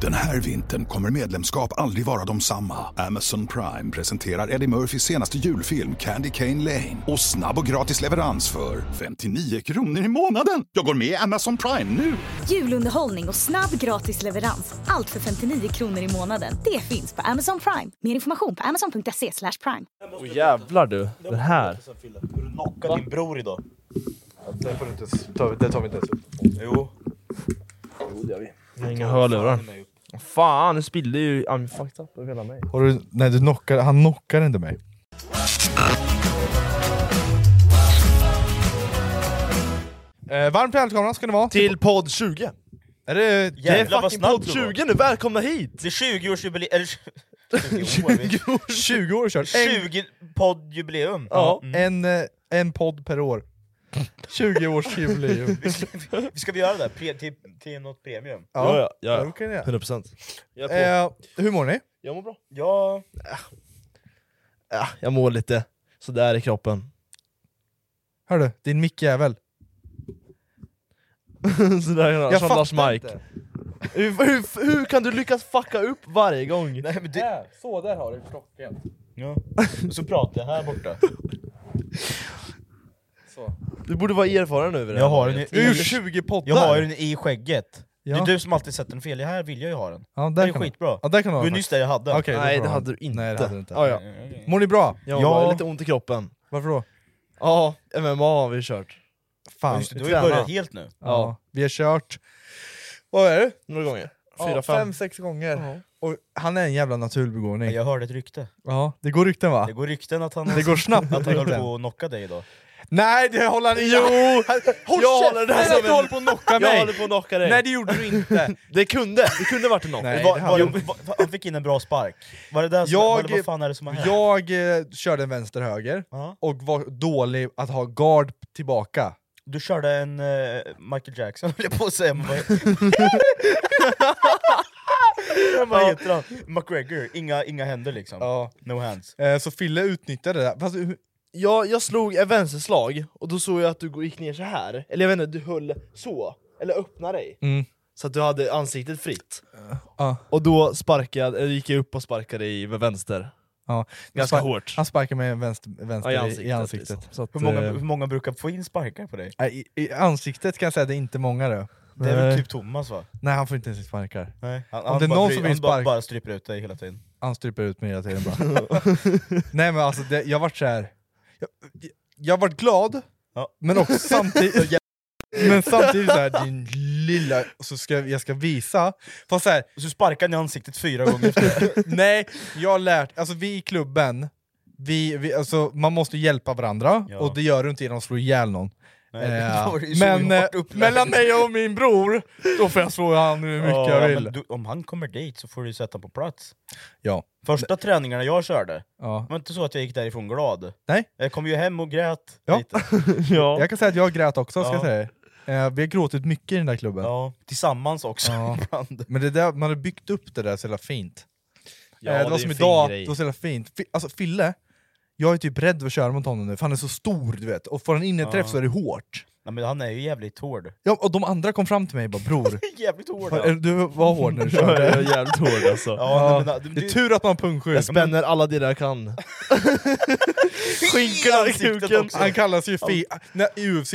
Den här vintern kommer medlemskap aldrig vara de samma. Amazon Prime presenterar Eddie Murphys senaste julfilm Candy Cane Lane. Och snabb och gratis leverans för 59 kronor i månaden. Jag går med i Amazon Prime nu! Julunderhållning och snabb gratis leverans. Allt för 59 kronor i månaden. Det finns på Amazon Prime. Mer information på amazon.se slash prime. Åh jävlar du, den här. Du knockade din bror idag. Det får du inte ens, tar vi- det tar vi inte ens upp. Jo. Jag har inga hörlurar. Fan, nu spillde ju... I'm fucked up över hela mig. Har du, nej, du knockar, han knockar inte mig. Eh, varmt välkomna ska ni vara. Till podd 20! Är det, Det är Jävlar, vad fucking snabb podd du var. 20 nu, välkomna hit! Det är 20-årsjubileum, eller 20 år, vi- 20 år kört? En, 20 poddjubileum! ja, Mm. en, eh, en podd per år. 20 års jubileum. Ska vi göra det? Pre, till, till något premium? Ja, ja, ja. då kan jag. 100% Jag är på. Eh, hur mår ni? Jag mår bra. Ja, Ja, jag mår lite sådär i kroppen. Hör du, din mickjävel. sådär, jag som fattar Lars Mark. inte. Hur, hur, hur kan du lyckas fucka upp varje gång? nej men det... Så, där har du klockan. Ja. Och så pratar jag här borta. Du borde vara erfaren över det Jag här har laget. den i- Ur 20 poddar! Jag har den i skägget. Ja. Det är du som alltid sätter den fel, här vill jag ju ha den. Ja, där Den är kan du. skitbra. Ja, där kan du Det ha var den. nyss där jag hade den. Okej, då får Nej du det ha hade den. du inte. Nej, det hade du inte. Ah, ja. Mår ni bra? Jag Ja. har lite ont i kroppen. Varför då? Ja, MMA har vi kört. Fan. Just det, du har vi ju tränar. börjat helt nu. Ja, vi har kört... Vad är det? Några gånger. Ja, Fyra, fem. fem, sex gånger. Ja. Och han är en jävla naturbegåvning. Jag hörde ett rykte. Ja, det går rykten va? Det går rykten att han, Det går snabbt. att han höll rykten. på att knocka dig idag. Nej, det håller han Jo! Håll Jag käften! håller det här Nej, som att du en- håller på att knocka Jag mig! håller på att knocka dig. Nej, det gjorde du inte. Det kunde, det kunde varit en knock. Nej, var, det var, hade var, var, han fick in en bra spark. Var det där som, Jag- var det, vad fan är det som har hänt? Jag eh, körde en vänster-höger Ja. och var dålig att ha guard tillbaka. Du körde en eh, Michael Jackson höll jag på att säga, men vad, vad heter han? McGregor, inga, inga händer liksom. Ja. No hands. Eh, Så Fille utnyttjade det. där. Fast, eh, hur- Jag, jag slog ett vänsterslag, och då såg jag att du gick ner så här. Eller jag vet inte, du höll så. Eller öppnade dig. Mm. Så att du hade ansiktet fritt. ja, Och då sparkade, eller gick jag upp och sparkade i med vänster. ja. Ganska Han spar- hårt. Han sparkar mig vänster, Ja, vänster I i, ansiktet. i ansiktet. liksom. Så att, Hur många, eh, hur många brukar få in sparkar på dig? Nej, I, I ansiktet kan jag säga det är inte många då. Eh, Det är väl Nej. typ Thomas va? Nej, han får inte ens sparkar. Nej. Han, det är bara någon bry- som vill han bara, spark- bara stryper ut dig hela tiden. Han stryper ut mig hela tiden bara. Nej men alltså, det, jag vart så här. Jag, jag vart glad, Ja. men också samtidigt... men samtidigt så här, din lilla... och Så ska, jag- jag ska visa. Fast så här, Så sparkar han i ansiktet fyra gånger efter det. nej, jag har lärt... Alltså vi i klubben, vi, vi, alltså, man måste hjälpa varandra, Ja. och det gör du inte genom att slå ihjäl någon. Nej, Eh, då var det ju så men eh, hårt upplägg. mellan mig och min bror, då får jag slå han hur mycket Ja, jag men vill. du, om han kommer dit så får du sätta på plats. Ja. Första träningarna jag körde, Ja. var inte så att jag gick därifrån glad. Nej. Jag kom ju hem och grät Ja. lite. ja. Jag kan säga att jag grät också, ska Ja. jag säga. Eh, vi har gråtit mycket i den där klubben. Ja, tillsammans också. Ja. ibland. Men det där, man har byggt upp det där så jävla fint. Ja, eh, det det var är som en fin idag, grej. det var så jävla fint. Fi- alltså Fille, jag är typ rädd för att köra mot honom nu, för han är så stor du vet, och får han in en träff så är det hårt. Nej, men han är ju jävligt hård. Ja, och de andra kom fram till mig och bara “bror, jävligt hård eh, du var hård när du körde”. Jag är jävligt hård alltså. Ja, Ja, nej, men, det är du, tur att man har pungskydd. Jag spänner alla delar jag kan. I Skinkorna i ansiktet kuken. också. Han kallas ju fi- nej, i UFC,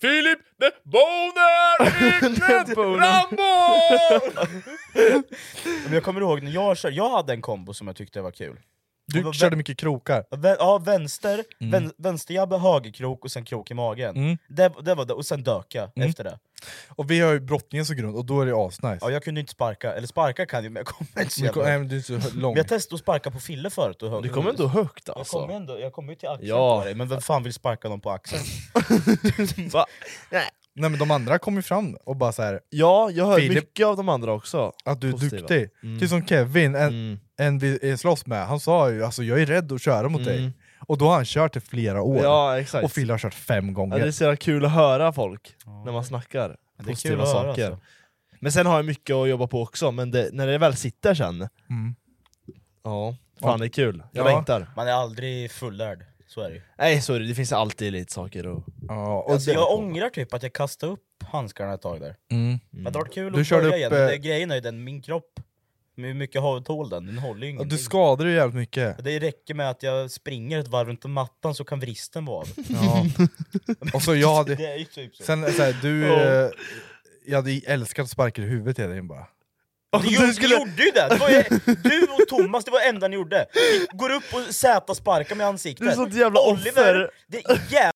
Filip the Boner Eknäs Boner. Rambo! men jag kommer ihåg när jag körde, jag hade en kombo som jag tyckte var kul. Du körde mycket krokar. Vä- Ja, vänster, vän, vänsterjabb, högerkrok och sen krok i magen. Mm. Det, det var det, och sen dök jag efter det. Och vi har ju brottningen som grund, och då är det asnice. Ja, jag kunde inte sparka, eller sparka kan jag men jag kommer inte så Men jävla... ko- Men nej, men du är så lång. jag testade att sparka på Fille förut och höll- Du kommer ändå högt Jag kommer alltså. ändå, jag kommer ju till axeln Ja. på dig, men vem fan vill sparka någon på axeln? Va? Nej. Nej men de andra kom ju fram och bara så här Ja, jag hör Filip- mycket av de andra också. att du är Positiva. duktig. Mm. Typ som Kevin, en, Mm. en vi eh, slåss med, han sa ju alltså jag är rädd att köra mot dig. Mm. Och då har han kört i flera år. Ja, exakt. och Phil har kört fem Ja, gånger. det är så jävla kul att höra folk när man snackar är kul positiva att höra, saker. alltså. Men sen har jag mycket att jobba på också, men det, när det väl sitter sen, Mm. ja, fan det är kul. Jag Ja. längtar. Man är aldrig fullärd. Så är det ju. Nej sorry, det finns alltid lite saker och... Ja, och Alltså, det, jag ångrar typ att jag kastade upp handskarna ett tag där. mm. Men det hade varit kul Du att körde börja igen, upp, eh, men det, grejen är ju den, min kropp, hur mycket har tål den? Den håller ju Ja, ingenting. Du skadar ju jävligt mycket. Det räcker med att jag springer ett varv runt mattan så kan vristen vara av. Ja. och så jag hade... Det är ju typ så. Sen så här, du... eh, Jag hade älskat att sparka i huvudet hela tiden bara. Ja, Ni gjorde, ni gjorde ju det! det var ju, du och Thomas, det var det enda ni gjorde. Ni går upp och Z sparkar med ansiktet. Du är sånt jävla offer! Oliver, det är jävla...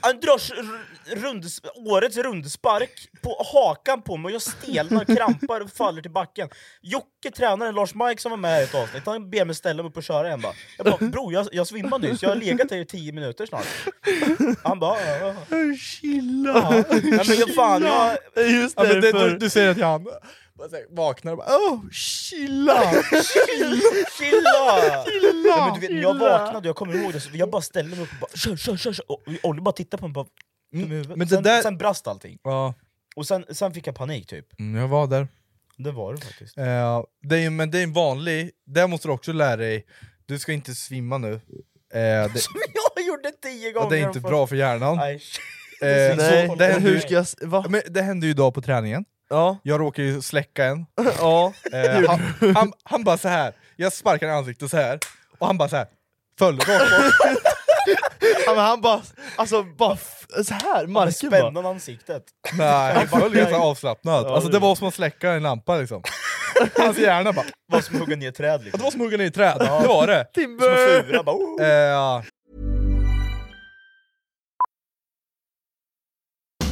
Han drar s- r- rundes, årets rundspark på hakan på mig och jag stelnar, krampar och faller till backen. Jocke, tränaren, Lars Mike som var med här i ett avsnitt, han ber mig ställa mig upp och köra igen bara. Jag bara bror, jag, jag svimmade nyss, jag har legat här i tio minuter snart. Han bara... "Ja, ja, ja." Chilla! Nej men jag- fan, jag, Just Ja, men det, därför! du, du säger till han, bara så här, vaknar och bara åh, chilla! Chilla! Ja, men du vet, när jag vaknade och jag kommer ihåg det, så jag bara ställde mig upp och bara kör, kör, kör, kör. Och Olle bara tittade på mig och bara dum i huvudet. Mm. men det sen, där- sen brast allting. ja, Och sen, sen fick jag panik typ. mm, jag var där. Det var det faktiskt. Eh, det är, ju- men det är en vanlig, där måste du också lära dig, du ska inte svimma nu. Eh, det, jag gjorde tio gånger! och det är de inte första- bra för hjärnan. Nej, Eh, Nej, så det, men hur hände, ska jag... s- Va? men det hände ju idag på träningen, Ja, jag råkade ju släcka en. ja. Eh, han, han, han bara så här. jag sparkade i ansiktet så här. och han bara så här. föll rakt bort. ja men han bara... Alltså bara... f- Så här, marken bara. Spännande ansiktet. Nej, han föll ganska avslappnad. Ja, Alltså det det var som att släcka en lampa liksom. Hans hjärna bara Vad som att hugga ner träd Ja, det liksom. var som att hugga ner i träd, det var det! Timber! Fura bara oh. Eh,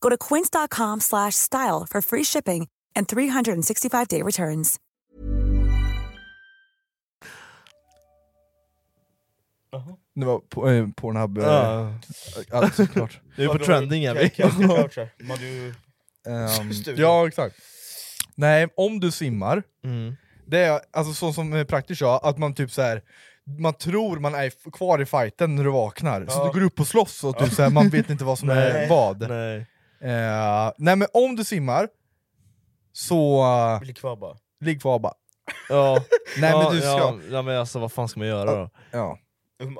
Go to quince.com/style slash style for free shipping and 365-day returns. det var på, eh, Pornhub, eh, Ja. ja, såklart. Nu är vi på trending är vi. vi. Ehm, Studio. ja, exakt. Nej, om du svimmar, Mm. det är alltså så som eh, praktiskt sa, att man typ så här. Man tror man är f- kvar i fighten när du vaknar, så du går upp och slåss och typ så här, man vet inte vad som är Nej. vad. Nej. Nej. nej men om du svimmar, så eh, Blir kvar bara. ligg kvar bara. Ja. Nej ja, men du ska... Ja, Ja. ja, men alltså vad fan ska man göra då? Um,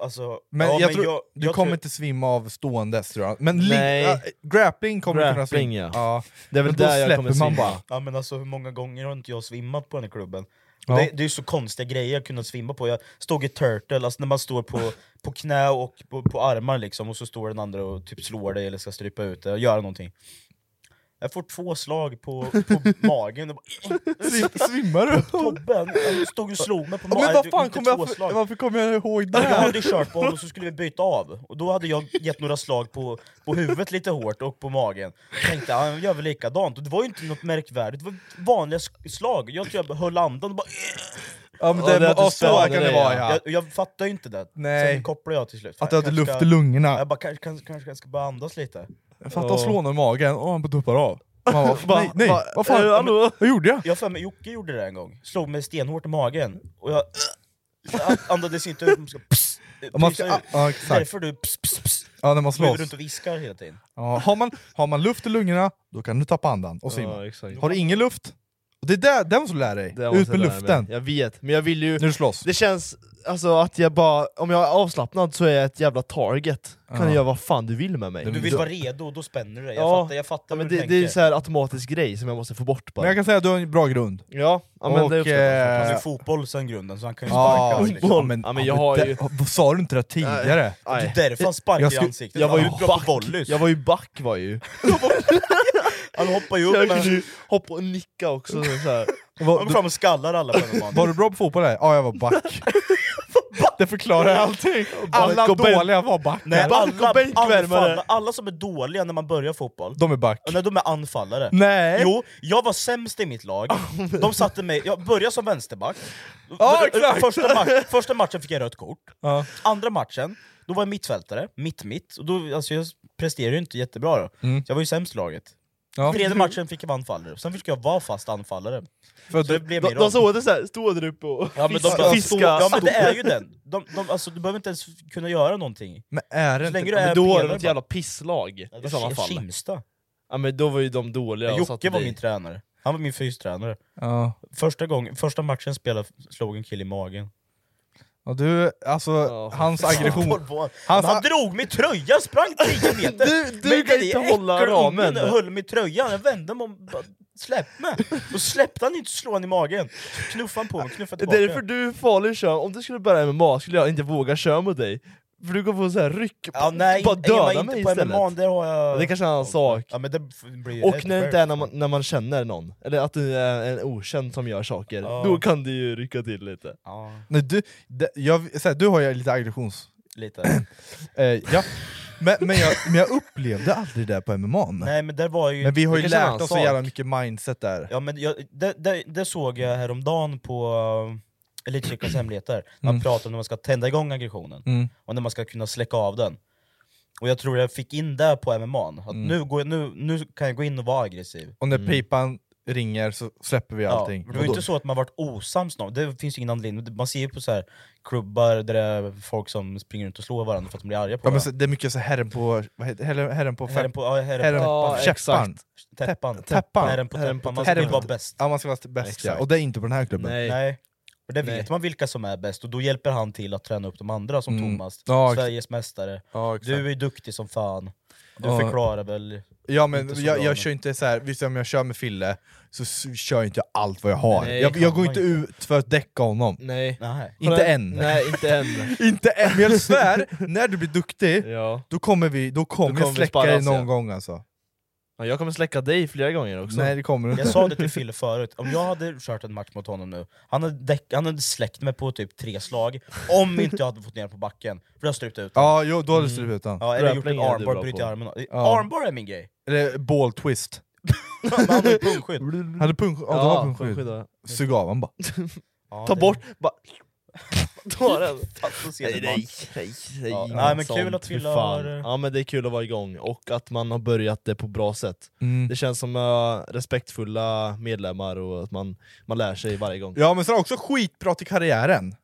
Alltså, Men ja, jag tror, du jag kommer tror- inte svimma av ståendes tror jag. Men Nej. Nej. grappling kommer du kunna Grappling, svimma. ja. Ja. Det är väl Men då där jag släpper kommer man svimma. bara. Ja men alltså hur många gånger har inte jag svimmat på den här klubben? Ja. Det, det är ju så konstiga grejer jag kunnat svimma på, jag stod i turtle, alltså när man står på, på knä och på, på armar liksom, och så står den andra och typ slår dig eller ska strypa ut dig och göra någonting. Jag får två slag på, på magen, och bara, Svim- Svimmar du? Tobben han stod och slog mig på Ja, magen, men vad fan inte kommer jag, två slag. för- varför kommer jag ihåg Jag det? hade kört på honom och så skulle vi byta av, och då hade jag gett några slag på, på huvudet lite hårt och på magen Tänkte han gör väl likadant, och det var ju inte något märkvärdigt, det var vanliga sk- slag Jag tror jag höll andan och bara Ja, men Ja, det det, är att du ja, så spänner kan det dig, vara ja. ja. jag, jag fattar ju inte det, Nej. sen kopplade jag till slut Fan, Att du hade kanske luft ska- i lungorna. Jag bara kanske, kanske, kanske jag ska börja andas lite Fatta att slå någon i magen och han bara duppar av. Man bara, nej, nej, va- vad fan, eh, hallå? vad gjorde jag? Jag har för mig Jocke gjorde det en gång, slog mig stenhårt i magen och jag jag andades inte ut, man ska, pss, Man pysa ska, ut. ja, exakt. Därför du pss, pss, pss. Ja, när man Du går slåss. runt och viskar hela tiden. Ja, har, man, har man luft i lungorna, då kan du tappa andan och simma. Ja, exakt. har du ingen luft, och det är där, det måste du lära dig. Det har man Ut sett med där, luften, men Jag vet, men jag vill ju... när du slåss. Det känns alltså att jag bara, om jag är avslappnad så är jag ett jävla target. Kan Ja. du göra vad fan du vill med mig. Du Du vill vara redo och då spänner du dig. Jag Ja, fattar, jag fattar ja, men hur du det, det är tänker. ju så här automatisk grej som jag måste få bort bara. Men jag kan säga att du har en bra grund. Ja, ja, men Och, det uppskattar jag. Han har eh, ju fotboll sen grunden, så han kan ju sparka. Ja, oss, liksom. ja, men, Ja, men jag har det- ju- vad Sa du inte det tidigare? Det Nej. är därför han sparkar Jag i skulle- ansiktet. Jag var ju han, hoppar back, på volleys. jag var ju back var jag ju. han hoppar ju Jag upp, kunde men ju hoppa och nicka också så här. han går fram och skallar alla på den banan. Var du bra på fotboll? Där? Ja, jag var back. det förklarar allting. Alla och bänk. dåliga var backar. Nej, Back och alla, bänkvärmare. anfallare, alla som är dåliga när man börjar fotboll, De är back. när de är anfallare. Nej! Jo, jag var sämst i mitt lag, de satte mig, jag började som vänsterback, Ja, exakt. första, ma- första matchen fick jag rött kort, Ja. andra matchen, då var jag mittfältare, mitt-mitt, och då, alltså jag presterade ju inte jättebra då, Mm. så jag var ju sämst i laget. Ja. Tredje matchen fick jag vara anfallare, sen fick jag vara fast anfallare. För att Så det du, blev De, min de roll. såg det såhär, stå där uppe och Ja men, de, fiska. de, fiska. ja men det är ju den, de, de, alltså, du behöver inte ens kunna göra någonting. men är det Så länge inte... du är men då var pelare det något bara. jävla pisslag i sådana fall. Kimsta. Ja men då var ju de dåliga och satte Jocke var dig. min tränare. Han var min fystränare. Ja. Första, gången, första matchen spelade slog en kille i magen. Och du, alltså, Ja. hans aggression... Han, Hans, han drog min tröja, sprang 10 meter! Du- du Men kan det inte hålla ramen. äckelungen höll mig i tröjan, jag vände mig om bara, släpp mig! Då släppte han inte, slå han i magen. Så knuffade han på mig, knuffade Det tillbaka. är därför du är farlig att köra, om du skulle börja MMA skulle jag inte våga köra mot dig. För du kommer få så här ryck, ja, nej, bara inte- jag var döda mig inte på istället. MMA, där har jag... Det är kanske är en annan sak. Ja, men det f- blir ju rätt Och när det inte är när skärt. man, när man känner någon, eller att du är en okänd som gör saker, Ja. då kan du ju rycka till lite. Ja, Nej, du, det, jag, så här, du har ju lite aggressions... lite. Eh, ja. men, men, jag, men jag upplevde aldrig det på MMA. nej men där var ju... Men vi har ju Det kanske är en lärt annan oss så sak. jävla mycket mindset där. Ja, men jag, det, det, det såg jag häromdagen på uh, Elitcykelns hemligheter. Man Mm. pratar om när man ska tända igång aggressionen Mm. och när man ska kunna släcka av den. Och jag tror jag fick in det på MMA, att Mm. nu, går, jag- nu, nu kan jag gå in och vara aggressiv. Och när pipan ringer så släpper vi Mm. Ja, allting. det var ju inte så att man varit osams någon. det finns ju ingen anledning. Man ser ju på så här klubbar där det är folk som springer runt och slår varandra för att de blir arga på ja, men så, varandra. det är mycket så herren på... Vad heter, herren, herren på... Herren på, ja, herren, herren på på Ja, täppan. Täppan. käppan. Täppan. Herren på Herren på täppan. Man täppan. vill vara bäst. Ja, man ska vara bäst ja. Exakt. Och det är inte på den här klubben. Nej. Och det vet Nej. man vilka som är bäst, och då hjälper han till att träna upp de andra som Mm. Thomas, Ja, exakt. Sveriges mästare. Ja, exakt. Du är duktig som fan, du Ja. förklarar väl... Ja men Inte så jag, bra, jag men- kör inte så här. visst om jag kör med Fille så s- kör inte jag allt vad jag har. Nej, jag, kan jag går man inte ut för att däcka honom. Nej. Nej. Inte än. Nej, inte än. Inte än, men jag svär, när du blir duktig, ja. då kommer vi, då kommer kommer jag vi släcka dig sparras, någon ja. gång alltså. Ja, jag kommer släcka dig flera gånger också. Nej det kommer du Jag inte. sa det till Fille förut, om jag hade kört en match mot honom nu, han hade, däck, han hade släckt mig på typ tre slag, om inte jag hade fått ner på backen, för då hade jag strypt ut honom. Ja, jo, då hade du strypt ut honom. Ja, eller gjort en grappling är du armbar, bra brutit på. armen. Ja. Armbar är min grej! Eller ball twist. Men han har ju pungskydd. Hade pung... Ja, du har punkskydd. skydda. Sug av honom bara. Ja, Ta det- bort, bara... Ta den. Fast då ser Nej, det nej, bara. nej, Ja, inget nej, men sånt, kul att fy vi la- fan. Ja men det är kul att vara igång, och att man har börjat det på bra sätt. Mm. Det känns som eh, respektfulla medlemmar och att man, man lär sig varje gång. Ja men så är det också skitbra till karriären.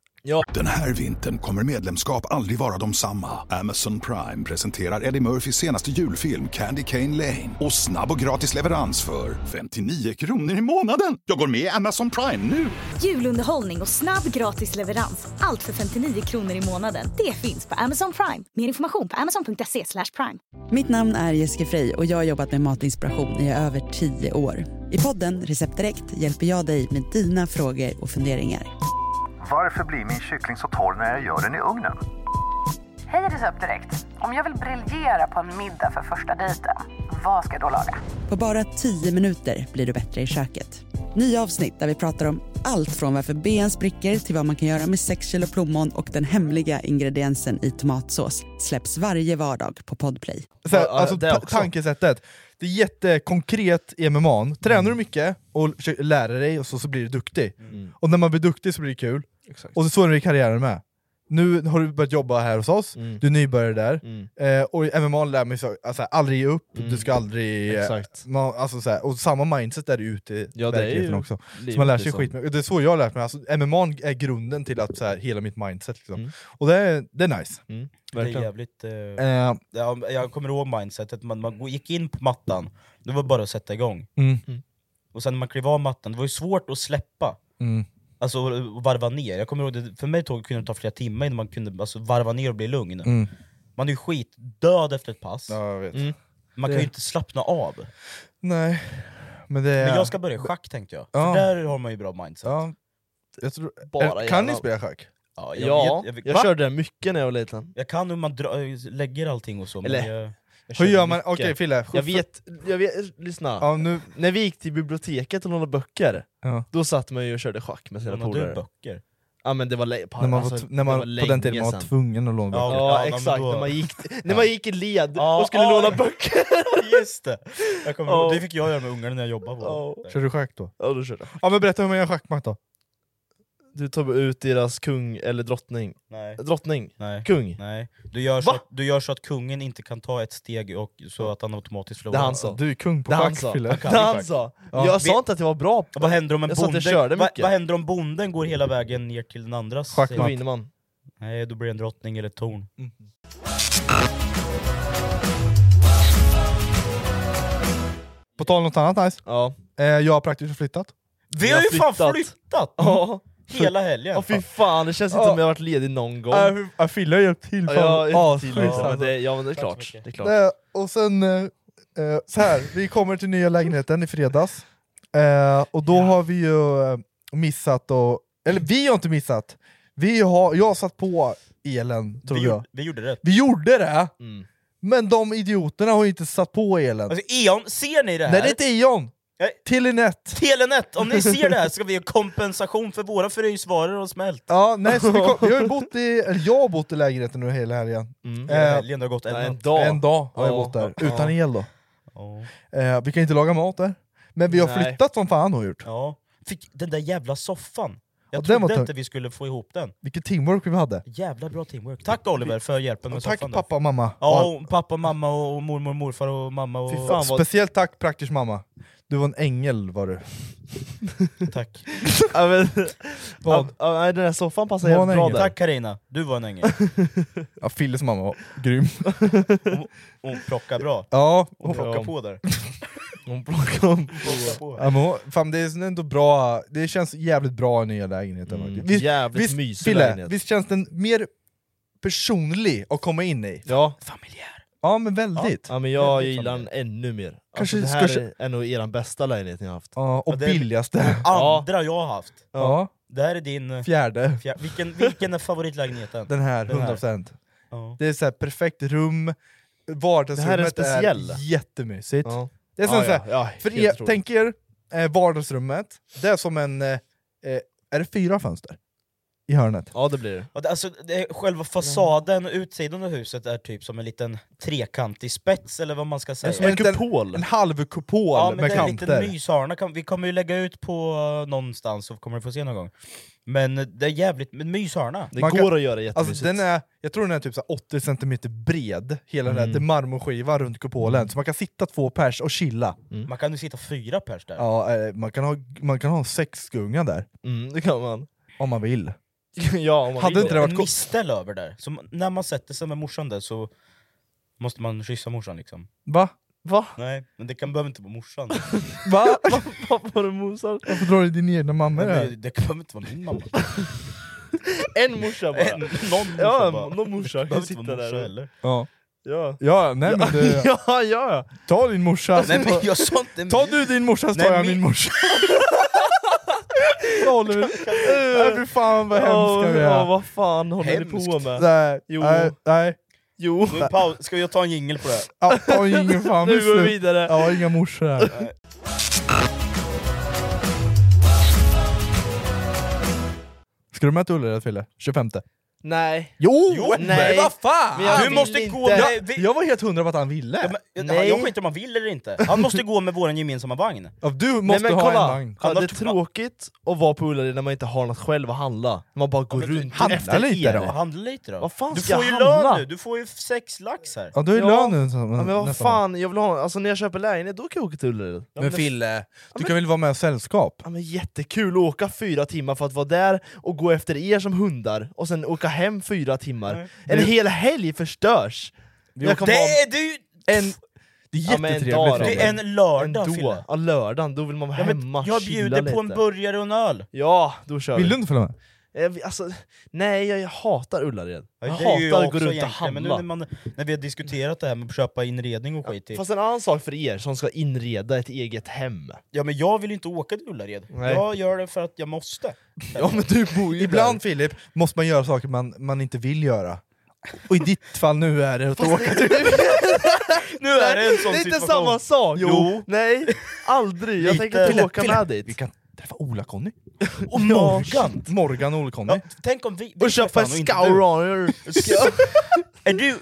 Den här vintern kommer medlemskap aldrig vara de samma. Amazon Prime presenterar Eddie Murphys senaste julfilm Candy Cane Lane. Och snabb och gratis leverans för 59 kronor i månaden. Jag går med i Amazon Prime nu! Julunderhållning och snabb gratis leverans. Allt för 59 kronor i månaden. Det finns på Amazon Prime. Mer information på amazon.se slash prime. Mitt namn är Jessica Frey och jag har jobbat med matinspiration i över tio år. I podden Recept Direkt hjälper jag dig med dina frågor och funderingar. Varför blir min kyckling så torr när jag gör den i ugnen? Hej Recept Direkt! Om jag vill briljera på en middag för första dejten, vad ska jag då laga? På bara tio minuter blir du bättre i köket. Nya avsnitt där vi pratar om allt från varför ben spricker till vad man kan göra med sex kilo plommon och den hemliga ingrediensen i tomatsås släpps varje vardag på Podplay. Så här, Ja, ja, alltså det ta- också. tankesättet. Det är jättekonkret i MMA. Tränar Mm. du mycket och försöker lära dig och så, så blir du duktig. Och när man blir duktig så blir det kul. Och så är det i karriären med. nu har du börjat jobba här hos oss, Mm. du är nybörjare där, Mm. eh, och i MMA lär mig så, alltså, aldrig ge upp, du ska aldrig... eh, Exakt. Man, alltså, så här, och samma mindset är det ute i Ja, det är verkligheten ju också. livet Så man lär sig liksom. skit med. Det är så jag har lärt mig, alltså, MMA är grunden till att, så här, hela mitt mindset. Liksom. Mm. Och det är, det är nice. Det är Verkligen. jävligt... eh, Eh, ja, jag kommer ihåg mindsetet, man, man gick in på mattan, det var bara att sätta igång. Mm. Och sen när man klev av mattan, det var ju svårt att släppa. Mm. Alltså och varva ner. Jag kommer ihåg, det, för mig tog, kunde det ta flera timmar innan man kunde alltså, varva ner och bli lugn. Mm. Man är ju skitdöd efter ett pass. Ja, jag vet. Man kan Det- ju inte slappna av. Nej, men det är... Men jag ska börja i schack tänkte jag. Ja. För där har man ju bra mindset. Ja, jag tror, Bara eh, kan ni jävlar. spela schack? Ja, jag, Ja, vet- jag, jag, jag, körde den mycket när jag var liten. jag kan hur man dra, lägger allting och så. men Eller- jag, Jag Hur körde gör man? mycket. Okej Fille, Jag vet, jag vet, lyssna. Ja, nu, När vi gick till biblioteket och lånade böcker, Ja. då satt man ju och körde schack med sina lånar du polare. böcker? Ja men det var, le- när man, alltså, var, när det man var på den tiden länge man var sedan. tvungen att låna Ja, böcker. Ja, Ja, men exakt, då- när man gick, när man gick i led Ja, och skulle ja, låna ja. böcker. Just det! Jag kommer, ihåg, Ja. Det fick jag göra med ungarna när jag jobbade på Ja. Kör du schack då? Ja, då körde jag. Ja men berätta hur man gör schackmatt då. Du tar ut deras kung eller drottning. Nej. Drottning? Nej. Kung? Nej. Du, gör så Va? att, du gör så att kungen inte kan ta ett steg och så att han automatiskt Det förlorar. han sa. Du är kung på Det han schack sa. Fille. Det han sa. Ja. Jag sa inte att jag var bra på Vad händer om en Jag sa att jag bonde, körde vad, mycket. vad händer om bonden går hela vägen ner till den andras? Schackmatt. Då sida? vinner man. Nej, då blir det en drottning eller ett torn. På tal om något annat nice. Ja. Eh, jag har praktiskt flyttat. Vi Jag har ju har fan flyttat. flyttat! Ja, Hela helgen! Ja, fy fan, det känns inte Ja. som jag har varit ledig någon gång. Äh, Fille har hjälpt till. Ja, fan. jag- Ja, till- skit, ja, men alltså. det, ja men det är Tack så klart. mycket. Det är klart. Eh, Och sen, eh, eh, så här, vi kommer till nya lägenheten i fredags. Eh, och då har vi ju eh, missat, och, eller vi har inte missat. Vi har, jag har satt på elen, tror vi, jag. gjorde, vi gjorde rätt. Vi gjorde det, Mm. men de idioterna har ju inte satt på elen. Alltså Eon, ser ni det här? Nej, det är inte Ion! Nej. Telenet! Telenet, om ni ser det här ska vi ge kompensation för våra frysvaror och smält. Ja, nej, så vi, kom, vi har ju bott i, eller jag har bott i lägenheten nu hela helgen. Mm. Eh, helgen, det har gått en Nej, en natt. dag. En dag har jag Ja. bott där, Ja. utan el då. Ja. Eh, vi kan inte laga mat där. Men vi har Nej. flyttat som fan har gjort. Ja. Fick den där jävla soffan. Jag Ja, den var trodde tung. inte vi skulle få ihop den. Vilket teamwork vi hade. Jävla bra teamwork. Tack Oliver för hjälpen med Och tack soffan. där. pappa och mamma. Ja, och pappa, mamma, och mormor, morfar och mamma och... Fy Ja, fan vad... Speciellt tack praktiskt mamma. Du var en ängel var du. Tack. Ja, men, Vad? ja, ja, nej, den där soffan passar Var jävligt den bra ingen? där. Tack Karina. du var en ängel. Ja, Filles mamma var grym. Hon plockade bra. Ja, Hon plockade Ja. på där. Hon plockade om. Plockade på. ja men, hon- fan, det är ändå bra. Det känns jävligt bra i nya lägenheten. Mm, faktiskt. Visst, jävligt visst, mysig Fille, lägenhet. visst känns den mer personlig att komma in i? Ja. Familjär. Ja men väldigt. Ja. ja, men jag Väldigt gillar den familj. ännu mer. Alltså, Kanske det ska här är nog er bästa lägenhet ni har haft. och Ja, det- billigaste. Ja. Andra jag har haft. Ja. Det här är din... eh, Fjärde. fjär- Vilken, vilken är favoritlägenheten? Den här, Den här. 100%. Ja. Det är så här perfekt rum, Det här är vardagsrummet är, speciell. jättemysigt. Ja. Det är som så här, ja, För helt er, otroligt. tänk er eh, vardagsrummet, det är som en... Eh, eh, är det fyra fönster? I hörnet. Ja det blir det. Ja, det- Alltså, det, själva fasaden och utsidan av huset är typ som en liten trekantig spets eller vad man ska säga. som en kupol En halv kupol ja, men med det är en liten kanter. myshörna, Kan- vi kommer ju lägga ut på eh, någonstans så kommer du få se någon gång. Men eh, det är jävligt, men myshörna. Det Man går kan- att göra jättemysigt. Alltså, den är, jag tror den är typ så här 80 cm bred, hela den här, det är marmorskiva runt kupolen, så man kan sitta två pers och chilla. Man kan ju sitta fyra pers där. Ja, eh, man, kan ha, man kan ha en sexgunga där, mm, det kan man. om man vill. ja, om man Hade vill då. inte det varit en ko- mistel över där. Så man- när man sätter sig med morsan där så måste man kyssa morsan liksom. Va? Va? Nej, men det kan, behöver inte vara morsan. Va? Va? Vad var det mosar? Varför drar du din egna mamma i det det, här? det kan behöver inte vara min mamma. En morsa bara. En, någon morsa ja, bara. någon morsa kan Behöver inte sitta vara där. morsa och- heller. Ja. Ja. ja, nej men du, ja, ja, ja. ta din morsa. Nej men jag sa inte Ta du din morsa så tar Nej, jag min- min morsa. Så håller vi. Nej fy fan vad hemska vi Eh. ja, är. vad fan håller ni Hemskt. på med? Nej, Jo. nej, nej. Jo, Nu paus- Ska jag ta en jingle på det? här? Ja, jag har ingen fan nu går vi beslut. vidare. Jag har inga morsor här. Ska du med till Ullared Fille? 25? Nej. Jo! Jo, nej. Vad fan! Men jag Du vill måste inte. gå- Jag, Nej, vi- jag var helt hundra på att han ville. Ja, men, Nej. Jag skiter om han vill eller inte. Han måste gå med vår gemensamma vagn. Ja, du måste Nej men ha kolla, en vagn. kolla, Han har det är två- tråkigt att vara på Ullared när man inte har något själv att handla. Man bara går runt handla efter lite er. då. Handla lite då. Vad fan du ska får ju jag lön handla? nu, du får ju sex lax här. Ja, du är Ja. lön nu. så- Ja, men vad nästan. fan, jag vill ha, alltså när jag köper lägenhet då kan jag åka till Ullared. Ja, Men Fille, du kan väl vara med i sällskap? Ja, men jättekul att åka fyra timmar för att vara där och gå efter er som hundar och sen åka hem fyra timmar. En hel helg förstörs! Jag kommer Det ha är du! en, Det är ja, men en jättetrevligt. dag då. Fille. Det är en lördag Fille. ändå, ja, lördagen, då vill man vara Ja, men hemma, jag chilla bjuder på en lite. burgare och en öl. Ja, då kör Vill vi. du inte följa med? Eh, vi- Alltså, nej, jag, jag hatar Ullared. Ja, Jag det är ju jag hatar att gå också runt och egentligen, Men nu handla. när, man, när vi har diskuterat det här med att köpa inredning och skit i. Fast en annan sak för er som ska inreda ett eget hem. Ja men jag vill ju inte åka till Ullared. Nej. Jag gör det för att jag måste. Ja men du bor ju Ibland Filip, måste man göra saker man, man inte vill göra. Och i ditt fall nu är det att åka till... Nu är det en Det sån är inte situation. samma sak! Jo. Nej, aldrig! Jag Lite. tänker inte Fille, åka med dit. Vi kan träffa Ola-Conny. Och Morgan! Morgan och Ola-Conny. Ja, tänk om vi... vi Och köpa en träffar honom, inte Scouronier! du. Är du...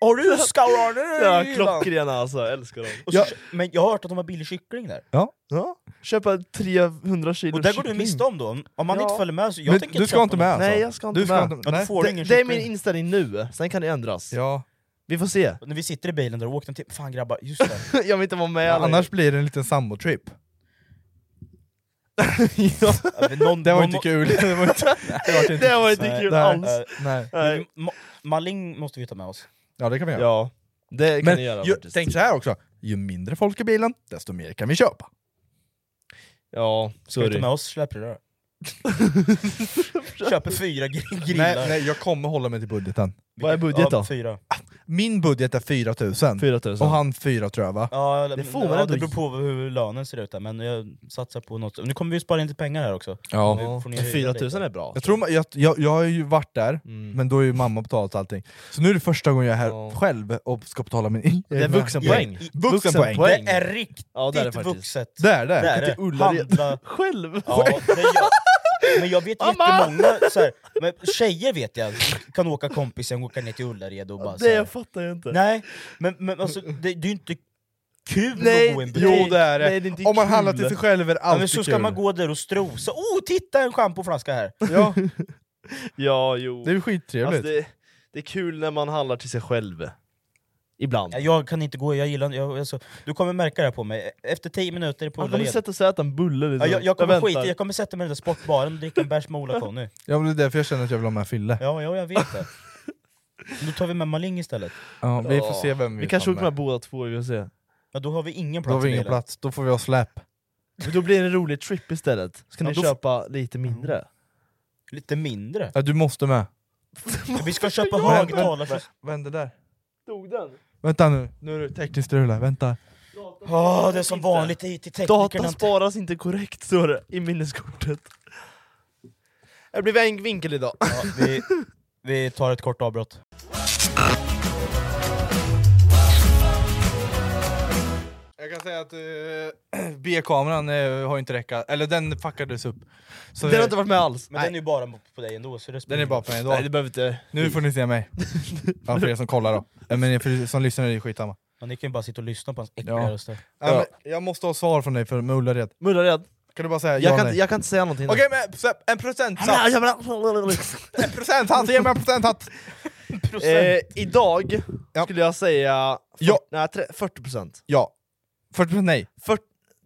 Har du en scourarner Ja, i hyllan? klockrena alltså, jag älskar dem. Och så- Men jag har hört att de har billig kyckling där. Ja. Köpa 300 kilo Och där går du kyckling. miste om då. Om man Ja. inte följer med så... Jag Men tänker du ska köpa inte något. med alltså? Nej jag ska inte Du ska med. inte... Ja, Nej. du får det, ingen det är kyckling. min inställning nu, sen kan det ändras. Ja. Vi får se. När vi sitter i bilen där och åkte till... Fan grabbar, just det. jag vill inte vara med alla. Annars blir det en liten sambotrip. Ja, Ja, men någon- Det var någon inte må- kul. Det var inte, det var inte det var inte Nej, kul nej. alls. Nej. Nej. Ma- Maling måste vi ta med oss. Ja det kan vi göra. Ja, det kan Men ni göra ju, faktiskt. tänk så här också, ju mindre folk i bilen, desto mer kan vi köpa. Ja, Ska vi ta sorry. med oss släprör? Köper fyra gr- grillar. Nej, nej, jag kommer hålla mig till budgeten. Vad är budget ja, då? Fyra. Min budget är 4000 4000. och han 4 tror jag va? Ja, det, får man ja, ändå det beror på hur lönen ser ut där, men jag satsar på något. Nu kommer vi ju spara in lite pengar här också. Ja. Får ni höja 4000 lite? är bra. Jag, tror, ma- jag, jag, jag har ju varit där, Mm. men då har ju mamma betalat allting. Så nu är det första gången jag är här Ja. själv och ska betala min... Det är vuxenpoäng. Ja. Vuxenpoäng! Vuxenpoäng. Det är riktigt Ja, det är det faktiskt. vuxet. Det är det! Det är det. det. till Ullared. Handla... Själv? Ja, det gör. Men jag vet jättemånga, så här, men tjejer vet jag, kan åka kompisen och åka ner till Ullared och bara så här. Det fattar jag inte. Nej, men, men alltså, det, det är ju inte kul att gå i en Alltså, butik. Jo det är det! Nej, det är inte Om man kul. handlar till sig själv är det Ja, alltid men så ska kul. man gå där och strosa. Oh, titta en schampoflaska här! Ja, Ja, jo. det är ju skittrevligt. Alltså, det, det är kul när man handlar till sig själv. Ibland. Ja, Jag kan inte gå, jag gillar jag, alltså, Du kommer märka det här på mig. Efter 10 minuter på Han kommer Ullared. sätta sig och äta en bulle Ja, liksom. jag, jag, kommer skita, väntar. jag kommer sätta mig i den där sportbaren och dricka en bärs med Ola-Conny. Ja, men det är därför jag känner att jag vill ha med Fille. Ja, Ja. ja, jag vet det. Då tar vi med Maling istället. vi får se vem vi, Vi kanske tar åker med båda två, vi får se. Ja, då har vi ingen Då har plats vi i ingen bilen. plats, då får vi ha släp. Men då blir det en rolig trip istället. Ska Ja, ni då- köpa lite mindre? Lite mindre. Ja, du måste med. Ja, Vi ska köpa Men- högtalare. Vad hände där? Dog den? Vänta nu, nu är det tekniskt strul här, vänta. Åh, det är som vanligt hit till Data teknikerna. sparas inte korrekt står det i minneskortet. Det blev en vinkel idag. Ja, vi, vi tar ett kort avbrott. Jag kan säga att eh, B-kameran eh, har inte räckat, eller den fuckades upp. Så Den har inte varit med alls. Men den är ju bara på dig ändå. Så det spelar den är ingen bara roll. på mig Nej, ändå. det behöver inte... Nu får ni se mig. Ja, för er som kollar då. Ja, Men för er som lyssnar är det skitsamma. Ja, Ni kan ju bara sitta och lyssna på hans äckliga Ja. röster. Ja, men jag måste ha svar från dig för med Ullared. Mullared, Kan du bara säga ja jag, alltså- kan nej? inte- jag kan inte säga någonting. Okej, men så- en procentsats! En procentsats! Ge mig en procentsats! Eh, idag Ja. skulle jag säga fyrt- Ja. nej, tre- 40%. Ja. 40 nej. Fyrt-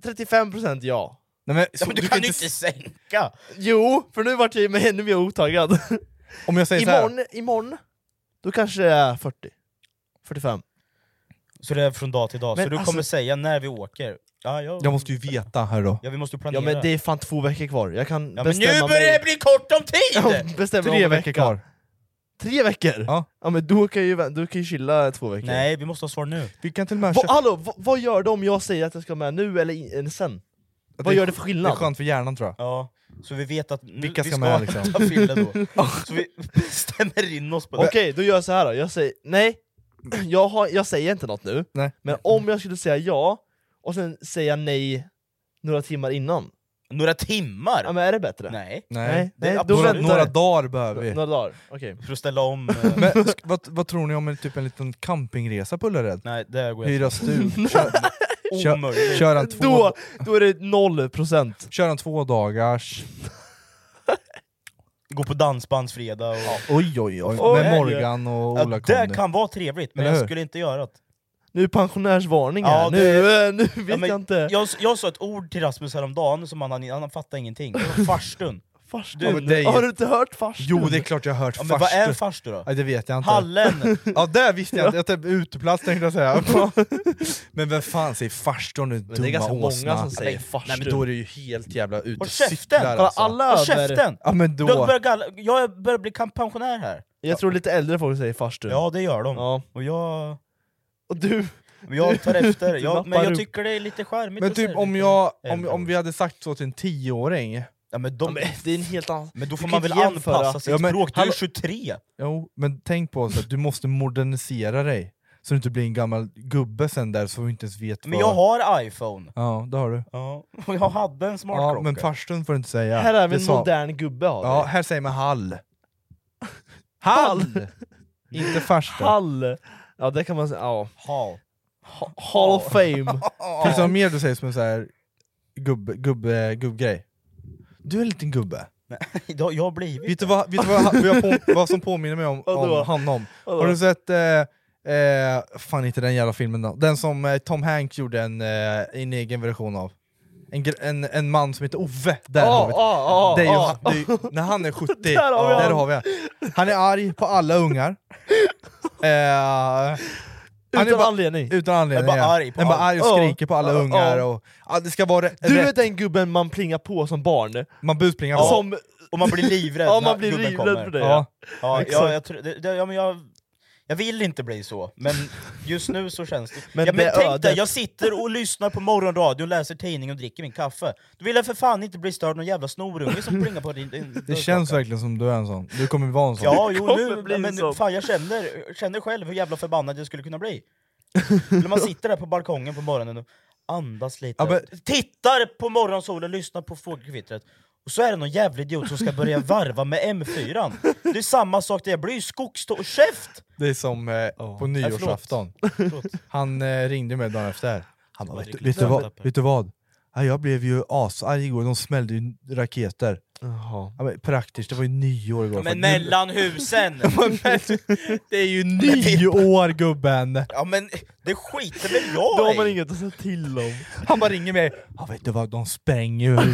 35% ja. nej men, så- Men du kan inte s- sänka! Jo, för nu vart jag ju ännu mer otaggad. Om jag säger såhär, imorgon, imorgon, då kanske det är 40. 45. Så det är från dag till dag. Men så du alltså- kommer säga när vi åker. Ja, jag, jag måste ju veta här då. Ja, vi måste ju Ja planera. men det är fan två veckor kvar, jag kan Ja, men nu bestämma börjar det mig. bli kort om tid! Ja, bestämma om Tre en veckor vecka. kvar. Tre veckor? Ja. men då kan jag ju, vä- då kan jag ju chilla två veckor. Nej, vi måste ha svar nu. Vi kan till och med Va, köpa... hallå, va, vad gör det om jag säger att jag ska med nu eller in, sen? Vad gör det för Det är skillnad? skönt för hjärnan tror jag. Ja, så vi vet att nu, Vilka vi ska ska med, liksom? ta Fille då. Så vi stämmer in oss på Okej, det. då gör jag så här då. jag säger nej, jag, har, jag säger inte något nu, Nej. men om jag skulle säga ja och sen säga nej några timmar innan, Några timmar? Ja, men är det bättre? Nej. Nej, Nej, Det- då några, väntar några vi. dagar behöver vi. Några dagar, okej. För att ställa om... eh, Men, sk- vad, vad tror ni om en, typ en liten campingresa på Ullared? Nej, det går jag Hyra inte. stug, kör, kör, Omöjligt. kör en två, Då- då är det 0%. Kör en två dagars Gå på dansbandsfredag och... Oj oj oj, Åh, med herre. Morgan och Ja, Ola Det Conny. kan vara trevligt, men Eller jag hur? skulle inte göra det. Nu är pensionärsvarning här, nu, eh, nu vet men jag inte. Jag, jag sa ett ord till Rasmus häromdagen som han, han, han fattade ingenting. Det var farstun. farstun? Har du inte hört farstun? Jo det är klart jag har hört Ja, men farstu. vad är farstu då? Ja, det vet jag inte. Hallen! ja det visste jag inte, jag tänkte uteplats tänkte jag säga. men vem fan säger farstun nu dumma det är ganska många åsna? som säger Nej men farstun. då är det ju helt jävla ute Håll och cyklar käften! alltså. Håll käften! Ja men då. Du börjar galla, jag börjar bli kam- pensionär här. Jag tror lite äldre folk säger farstun. Ja det gör de. Ja. Och jag... Och du? Jag tar efter. Du Jag, men mappar jag upp. tycker det är lite charmigt Men att typ säga om, lite jag, om, äldre om ord. vi hade sagt så till en tioåring, Ja, men, de, Men det är en helt annan... men då får kan man inte väl jämföra. anpassa sitt Ja, men språk. Du är hallå- 23! Jo, men tänk på så att du måste modernisera dig så du inte blir en gammal gubbe sen där som inte ens vet Men vad... jag har iPhone. Ja, det har du. Ja. Och jag hade en Ja, smartklocka. men farstun får du inte säga. Här är vi Det en sa- modern gubbe har vi. Ja, här säger man hall. Hall! inte farstun. Hall! Ja det kan man säga, ja. Hall. Ha- Hall of fame. Finns det något mer du säger som en sån här gubbe, gubbe, gubbgrej? Du är en liten gubbe. Det har jag blivit. Vet du vad, vet du vad, vad, jag på, vad som påminner mig om, Vadå? om han om? Vadå? Har du sett, eh, eh, fan inte den jävla filmen då, den som eh, Tom Hanks gjorde en, eh, en egen version av? En, gr- en, en man som heter Ove, där Ja, har vi det. ja, ja, det. Är ju, ja. han- det är ju, när han är 70, Ah, Där har vi där han. har vi han. Han är arg på alla ungar. eh, han är Utan bara- anledning. Utan anledning. Är bara ja. arg på Han är bara allt. arg och Ja. skriker på alla Ja, ungar. ja. Och, ja, det ska vara rätt, Ah, Du är rätt. den gubben man plingar på som barn. man busplingar på. Som, Och man blir livrädd ja man när blir gubben livrädd kommer. för det. ja. Ja. Ja, Exakt. jag, jag, tror- det, det, ja, men jag, jag vill inte bli så, men just nu så känns det... Men ja, det men är tänk ödet. dig, jag sitter och lyssnar på morgonradio, läser tidning och dricker min kaffe. Då vill jag för fan inte bli störd av någon jävla snorunge som plingar på din... din Det dörrklocka. känns verkligen som du är en sån. Du kommer vara en sån. Ja, jo, kommer nu, bli men så. fan jag känner, känner själv hur jävla förbannad jag skulle kunna bli. När man sitter där på balkongen på morgonen och andas lite, Ja, men- tittar på morgonsolen, lyssnar på fågelkvittret, och så är det någon jävla idiot som ska börja varva med M4. Det är samma sak där, jag blir ju skogstå och käft! Det är som eh, på nyårsafton. Han eh, ringde mig dagen efter. Han bara, vet, du- vet, du vad, vet du vad? Ja, jag blev ju asarg igår, de smällde ju raketer. Jaha. Ja, men, praktiskt, det var ju nyår igår. Men Fan, nu- mellan husen! det är ju nyår gubben! Ja men det skiter väl jag Då har man i! inget att säga till om. Han bara ringer mig. Ja, vet du vad, de spränger ju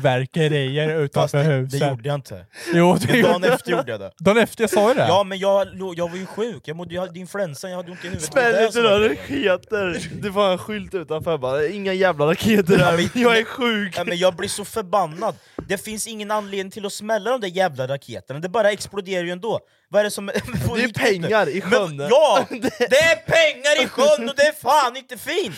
fyrverkerier Fast utanför det, det huset. gjorde jag inte. Jo, det Men dagen gjorde efter gjorde jag det. Dagen efter, jag sa ju det. Ja men jag, låg- jag var ju sjuk, jag, mådde, jag hade influensa, jag hade ont i huvudet. Det var Spänn det inte som var några grejen. raketer! Det var en skylt utanför bara, inga jävla raketer Ja, här, men- jag är sjuk! Ja, men jag blir så förbannad! Det finns ingen anledning till att smälla de där jävla raketerna, det bara exploderar ju ändå. Vad är det som... Det är pengar i sjön! Men, ja! Det är pengar i sjön och det är fan inte fint!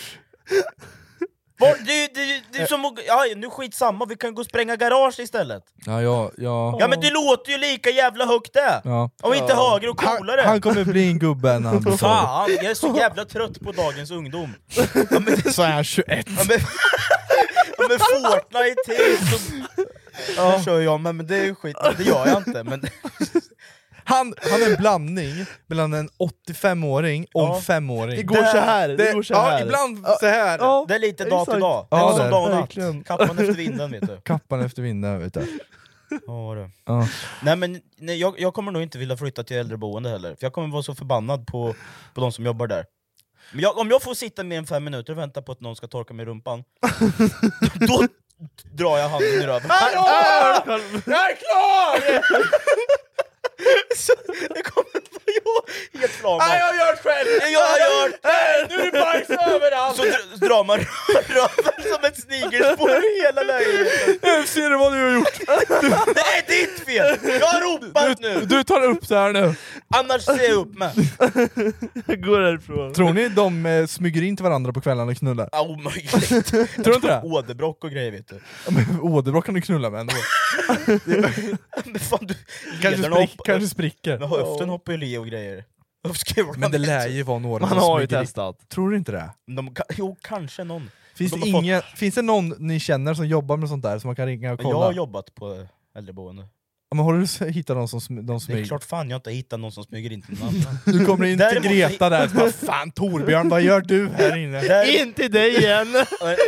Var, det, det, det är som att... Ja, nu skitsamma, vi kan gå och spränga garage istället. ja, ja, ja. Ja men det låter ju lika jävla högt det! ja. Om inte högre och coolare! Han kommer bli en gubbe när han blir tolv. Fan, jag är så jävla trött på dagens ungdom. Så är han 21. Ja, men, ja, men Fortnite till så... Ja. Det kör jag med, men det är ju skit. Det gör jag inte. Men... Han, han är en blandning mellan en 85-åring och Ja. en 5-åring. Det går så här, det, går så här. Ja, ibland så här. Ja. Det är lite dag till Exakt. dag. Ja, det är det som är dag och verkligen. natt. Kappan efter vinden vet du. Kappan efter vinden, vet du. Ja, du. Ja. Nej, men, nej, jag, jag kommer nog inte vilja flytta till äldreboende heller, för jag kommer vara så förbannad på, på de som jobbar där. Men jag, om jag får sitta mer än fem minuter och vänta på att någon ska torka mig i rumpan, då drar jag handen i röven. Jag är klar! Så Det kommer vara jag helt flamad. har gjort själv! Jag har gjort Nu är det bajs överallt! Så dr- drar man röven som ett snigelspår i hela lägenheten. Nu ser du vad du har gjort! Det är ditt fel! Jag har ropat nu! Du tar upp det här nu! Annars ser jag upp mig. Jag går härifrån. Tror ni de eh, smyger in till varandra på kvällarna och knullar? Ja, Omöjligt. Tror du inte det? Åderbråck och grejer vet du. Åderbråck kan du knulla med ändå. Men fan, du Kanske, lederna sprick, hopp- kanske spricker. Men höften hoppar ju le och grejer. Höftskulan Men det vet lär du. ju vara några Man som har ju smyger in. testat. Tror du inte det? De, ka- jo, kanske någon. Finns De det, har fått- ingen, finns det någon ni känner som jobbar med sånt där som man kan ringa och kolla? Jag har jobbat på äldreboende. Ja, Men har du s- hittat någon som sm- de Det är smyger? klart fan jag inte hittat någon som smyger in till någon annan. Du kommer in till Däremot- Greta där och bara Fan Torbjörn, vad gör du här inne? Där- In till dig igen! hem!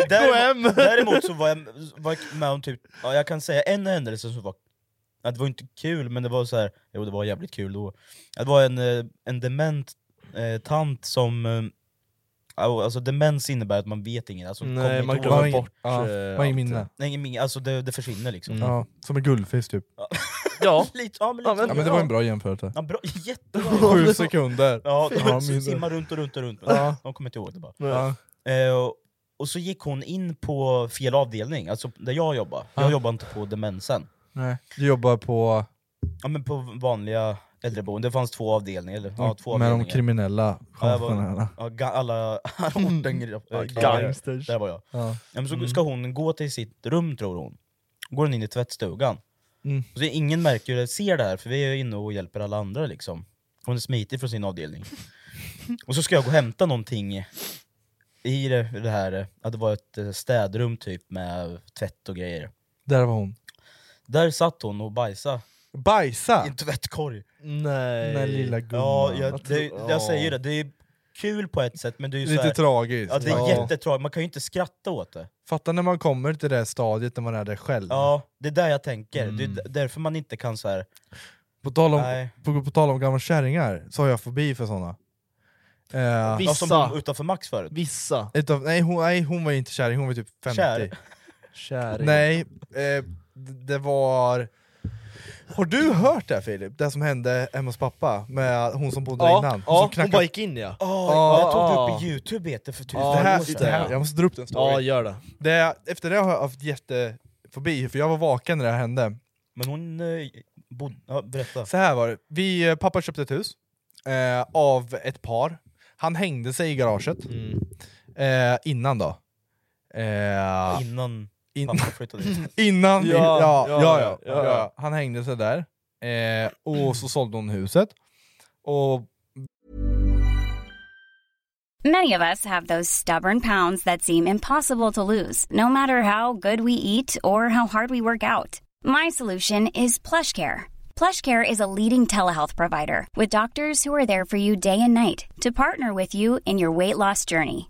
Däremot, däremot så var jag, var jag med om typ, ja, jag kan säga en händelse som var, ja, det var inte kul men det var så här, jo det var jävligt kul då. Det var en, eh, en dement eh, tant som, eh, ja, alltså demens innebär att man vet inget, alltså, Nej, kommer inte man ihåg. glömmer ing- bort, ja, eh, man har ingen allt minne. Nej, ingen minne, alltså det, det försvinner liksom. Mm. Ja, som en guldfisk typ. Ja. Lite, ja, men lite, Ja, men- Ja, men det var en bra jämförelse. Ja, bra, jättebra! Sju sekunder. Ja, de Ja, sim- minne. simmar runt och runt och runt, Ja. de kommer inte ihåg det bara. Ja. Eh, och- och så gick hon in på fel avdelning, alltså där jag jobbar. Jag Ja. jobbar inte på demensen. Nej. Du jobbar på Ja men på vanliga äldreboenden, det fanns två avdelningar. Eller, ja, två med de avdelningar. kriminella Ja, jag var- konstnärerna. ja, ga- alla orten... eh, Gangsters. Där var jag. Mm. Ja. Ja, men så ska hon gå till sitt rum tror hon. Går hon in i tvättstugan. Mm. Och så ingen märker eller ser det här, för vi är ju inne och hjälper alla andra liksom. Hon är smitig från sin avdelning. och så ska jag gå och hämta någonting i det, det här, ja, det var ett eh, städrum typ med tvätt och grejer. Där var hon. Där satt hon och bajsade i Bajsa! en tvättkorg. Nej. Den där lilla gumman. Ja, jag, tror- det, jag säger ju det, det är kul på ett sätt men det är ju så Lite här, tragiskt. ja, det är Ja. jättetragiskt, man kan ju inte skratta åt det. Fatta när man kommer till det stadiet när man är där själv. Ja, det är där jag tänker, det är Mm. d- därför man inte kan så här. På, tal om, Nej. på, på tal om gamla kärringar så har jag fobi för såna. Eh, Ja, som Vissa. hon utanför Max förut. Vissa. utav, nej, hon, nej, hon var inte kärring, hon var typ 50. Kär. Käring. Nej, eh, d- det var... Har du hört det här, Filip? Det som hände hemma hos pappa med hon som bodde Ja, innan? ja, som hon knackade- bara gick in ja. Oh, Ja, jag tog ja. upp i youtube heter för tusen Ja, det här, år sedan. det här, jag måste dra upp den story. Ja, gör det. Det, efter det har jag haft jättefobi, för jag var vaken när det här hände. Men hon... Eh, bod, ja, berätta. Så här var det, vi, eh, pappa köpte ett hus eh, av ett par. Han hängde sig i garaget Mm. eh, innan då. Eh, Innan in, pappa flyttade dit. innan... Ja, Ja, ja, ja, ja, ja, ja. Han hängde sig där, eh, och så sålde hon huset. Och Many of us have those stubborn pounds that seem impossible to lose, no matter how good we eat or how hard we work out. My solution is PlushCare. PlushCare is a leading telehealth provider with doctors who are there for you day and night to partner with you in your weight loss journey.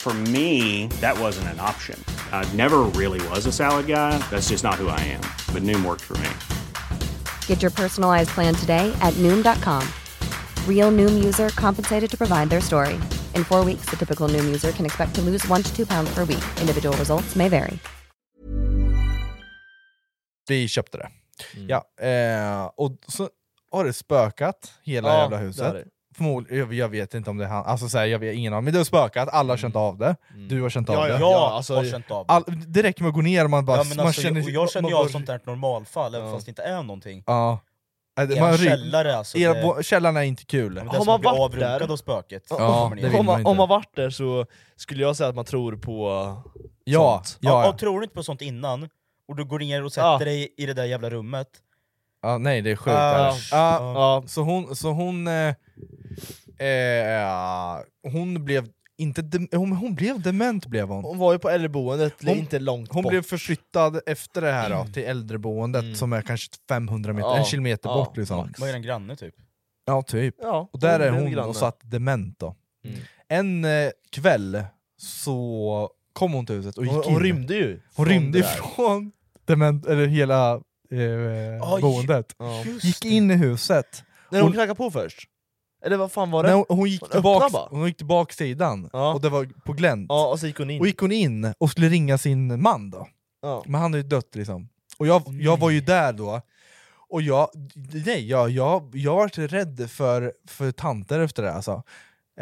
For me, that wasn't an option. I never really was a salad guy. That's just not who I am. But Noom worked for me. Get your personalized plan today at Noom.com. Real Noom user compensated to provide their story. In four weeks, the typical Noom user can expect to lose one to two pounds per week. Individual results may vary. vi köpte det. Mm. Ja, eh, och så har det spökat hela Ja, jävla det huset. är det. Förmodligen, jag- jag vet inte om det är han, alltså så här, jag vet ingen aning, men det har spökat, alla har känt av det, du har känt av Ja, det. ja, Jag alltså, har känt av All, det räcker med att gå ner och man bara... ja, men man alltså, jag, jag känner ju man av bara- sånt där normalfall, även fast det inte är någonting. Ja. Äh, det- I man en ry- källare alltså. era det- bo- Källan är inte kul. Ja, men Har det är som man att bli varit där? avrundad av spöket. Ja, Ja, Kommer det ner. vill Om man man, inte. om man varit där så skulle jag säga att man tror på ja, sånt. ja, Ja, ja. Och tror du inte på sånt innan, och du går ner och sätter Ja. dig i det där jävla rummet. ja, nej det är sjukt. Ja, alltså. ja, ja. Så hon, så hon, eh, eh, hon blev inte dem- hon, hon blev dement blev hon. Hon var ju på äldreboendet, det är Hon- inte långt Hon bort. blev förflyttad efter det här då, till äldreboendet som är kanske 500 meter, Mm. Ja, en kilometer ja, bort liksom. max. Vad är den granne typ? Ja typ. Ja, Och där är blev hon granne. och satt dement då. Mm. En eh, kväll så kom hon till huset och gick Hon, in. hon rymde ju. Hon från rymde det där. ifrån dement, eller hela eh, Oj, boendet. Ja. Gick in i huset. När hon Hon- knackade på först? Eller vad fan var det? Nej, hon, hon, gick Hon tillbaks, öppnade bara. hon gick tillbaka sidan, Ja. och det var på glänt. Ja, och så gick hon in. Och gick hon in och skulle ringa sin man då. ja. Men han är ju dött liksom. Och jag, jag var ju där då, och jag, nej, jag, jag, jag var rädd för, för tanter efter det alltså. Eh,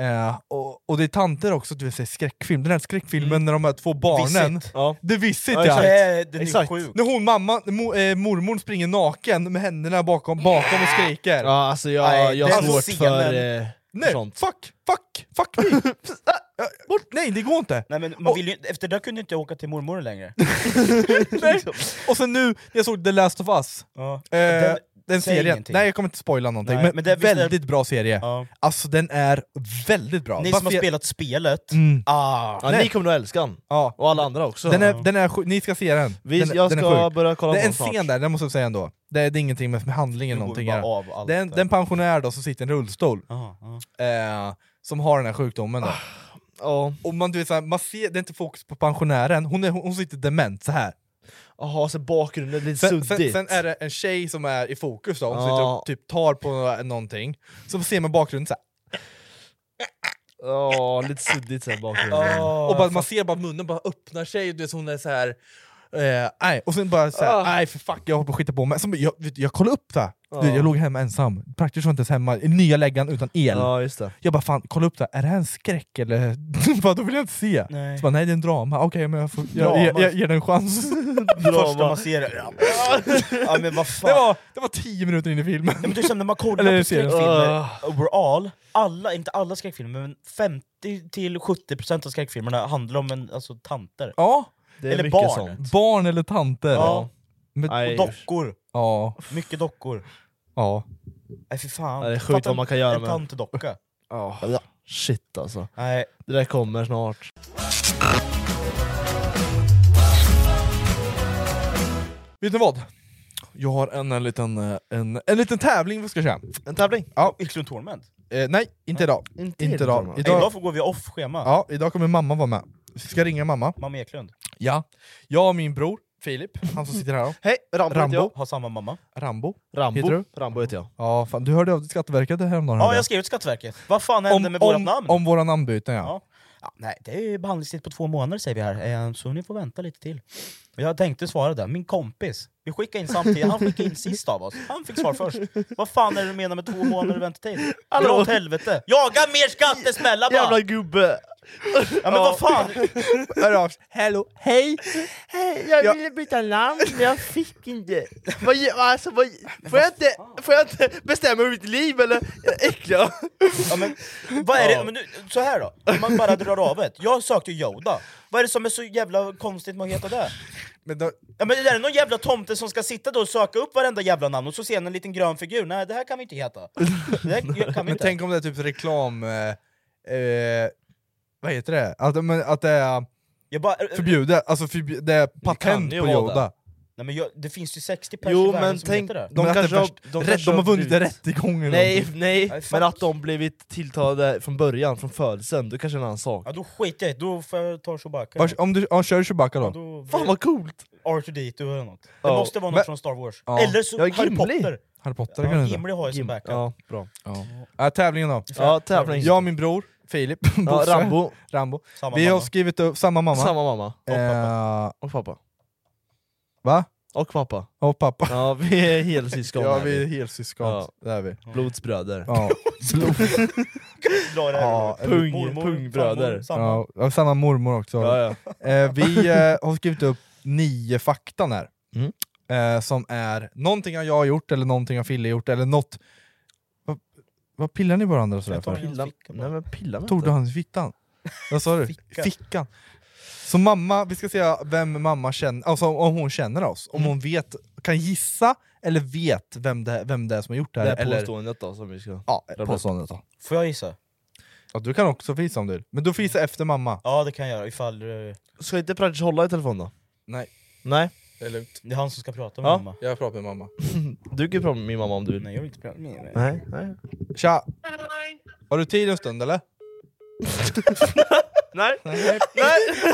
Eh, och, och det är tanter också, du vet så här, skräckfilm, den här skräckfilmen när de här två barnen... Visit. Mm. Ja. Det är Visit Ja, ja! exakt. Nej, den är sjuk. När hon, mamma, mo, eh, mormor springer naken med händerna bakom, bakom och skriker. Ja, alltså jag- jag har den svårt scenen. för, eh, Nej, sånt. fuck, fuck, fuck me! Ah, bort. Nej, det går inte! Nej, men man vill ju, efter det kunde jag inte åka till mormor längre. Och sen nu, jag såg The Last of Us. Ja. Eh, Den- den, säg serien. ingenting. Nej jag kommer inte spoila någonting, Nej, men, men det- visst är- väldigt bra serie. Alltså den är väldigt bra. Ni som har Varför- spelat spelet, Mm. ah, Ja, Nej. Ni kommer nog älska den, Ja. och alla andra också. Den är, den är sjuk, ni ska se den. Vi- den, jag den är ska sjuk. börja kolla Det på är en den snart. scen där, det måste jag säga ändå. Det är, det är ingenting med med handlingen Nu går vi någonting. bara här. av allt det är en, det den pensionär då som sitter i en rullstol, Eh, som har den här sjukdomen. Då. Ah, Och man, du vet, så här, man ser, det är inte fokus på pensionären, hon, är, hon sitter dement så här. Jaha, så bakgrunden är lite Sen, sen, suddigt. sen är det en tjej som är i fokus då, hon Ja. sitter och typ tar på nå- någonting, så ser man bakgrunden så här. Ja, lite suddigt sen bakgrunden. och bara, man ser bara munnen bara öppnar sig, du vet, så hon är så här. eh, nej. och sen bara Ah. Ah. såhär, nej för fuck jag hoppar och skiter på mig. Som, jag, vet, jag kollade upp det, här. Du vet, Ja. jag låg hemma ensam, praktiskt var inte ens hemma, i nya läggan utan el. Ja, just det. Jag bara fan, kolla upp det, här. är det här en skräck eller? bara, då vill jag inte se. Nej. Så bara, nej det är en drama, okej men jag, får, jag, Drama. jag, jag ger den en chans. första man ser det... Ja, ja men vad fan. det, var, det var tio minuter in i filmen. Ja, men det är som när man kollar Eller på serien. skräckfilmer Ah. overall, alla, inte alla skräckfilmer, men 50-70% av skräckfilmerna handlar om en, alltså, tanter. Ah, Ja. Det är Eller mycket barn. sånt. Barn eller tanter. Ja. Men, Nej, Och dockor. ja. Mycket dockor. ja. Nej fy fan. Ja, det är sjukt Fatta vad man kan göra en med- tantedocka. Ja, Shit alltså. Nej. Det där kommer snart. Vet ni vad? Jag har en, en, liten, eh, en, en liten tävling vi ska köra. En tävling? Ja. Yxlund Torment. Eh, nej, inte idag. Inte idag. Idag... idag. idag får- går vi off-schema. Ja, idag kommer mamma vara med. Vi ska ringa mamma. Mamma Eklund. Ja. Jag och min bror Filip, han som sitter här. då. Hej, Rambo, Rambo. heter jag. Har samma mamma. Rambo. Rambo. Heter du? Rambo heter jag. Ja, fan, du hörde av till Skatteverket häromdagen. Ja, hörde jag skrev ut Skatteverket. Vad fan hände om, med vårt om, namn? om våra namnbyten ja. Ja. Ja, nej, det är ju behandlingstid på två månader säger vi här, eh, så ni får vänta lite till. Och Jag tänkte svara där, min kompis. Vi skickade in samtidigt, han skickade in sist av oss. Han fick svar först. Vad fan är det du menar med två månader väntetid? Dra åt helvete! Jaga mer skattesmällar bara! Jävla gubbe! Ja men vad fan! Hör av sig. Hello, hej! Hej, jag Ja. ville byta namn men jag fick inte. Vad, ge- alltså, vad, får, jag inte får jag inte bestämma över mitt liv eller? Jag är äcklig. Ja, men, vad är det? Men nu, så här då, om man bara drar av det. Jag sökte Yoda. Vad är det som är så jävla konstigt med att heta det? Men då, Ja, men det där är någon jävla tomte som ska sitta då och söka upp varenda jävla namn och så ser han en liten grön figur. Nej, det här kan vi inte heta. Det här kan vi men inte. tänk om det är typ reklam... Eh, eh, vad heter det? Att, men, att det är Jag bara, förbjudet, alltså förbj- det är patent på Eh. ju vara Yoda. det. Nej, men jag, det finns ju 60 personer Jo i världen men som tänk, heter det. Men de att det kanske är har, värst- de rätt- kanske de har har vunnit en blivit- rättegång eller Nej, någonting. nej, Nej, fuck. men att de blivit tilltalade från början, från födseln, det kanske är en annan sak. Ja, då skiter jag i det. då får jag ta Chewbacca. Vars, om du ja, kör Chewbacca ja, då. då Fan vad coolt! R2D2 eller något. Det Ja. måste vara något Men- från Star Wars. Ja. Eller så Ja, Harry Gimli. Potter. Harry Potter kan Ja, du inte. Gimli har jag som backup. Ja, bra. Ja. Ja, tävlingen då. Ja, tävling. Jag och min bror Filip, Ja, Bosse, Rambo, Rambo. Samma Vi har mamma. skrivit upp, samma mamma. samma mamma. Eh, Och pappa. va? Och pappa. Och pappa. Ja, vi är helsyskon Ja här vi är vi. helsyskon, Ja. det är vi. Blodsbröder. Ja. Dra det här Ja, då. pung- Mormor, pungbröder. farmor, samma. Ja, och samma mormor också. Ja, ja. Eh, vi eh, har skrivit upp nio faktan här. Mm. Eh, som är någonting har jag gjort, eller någonting har Fille gjort, eller något... Vad, vad pillar ni på varandra sådär Jag tar för? min Pilla, ficka bara. nej men pilla mig Tog du inte. hans fittan? Vad sa du? Ficka. Fickan. Så mamma, vi ska se vem mamma känner, alltså om hon känner oss. Om hon vet, kan gissa eller vet vem det, vem det är som har gjort det Det här. här eller, påståendet då som vi ska... ja, blir- påståendet då. Får jag gissa? Ja, du kan också fisa om du vill. Men du får gissa efter mamma. Ja det kan jag göra ifall... eh, Ska inte Pradish hålla i telefon då? Nej. Nej, Det är lugnt. Det är han som ska prata med Ja. mamma. Jag pratar med mamma. du kan ju prata med min mamma om du vill. Nej jag vill inte prata med henne. Nej, nej. Tja! Har du tid en stund eller? Nej, Nej. Han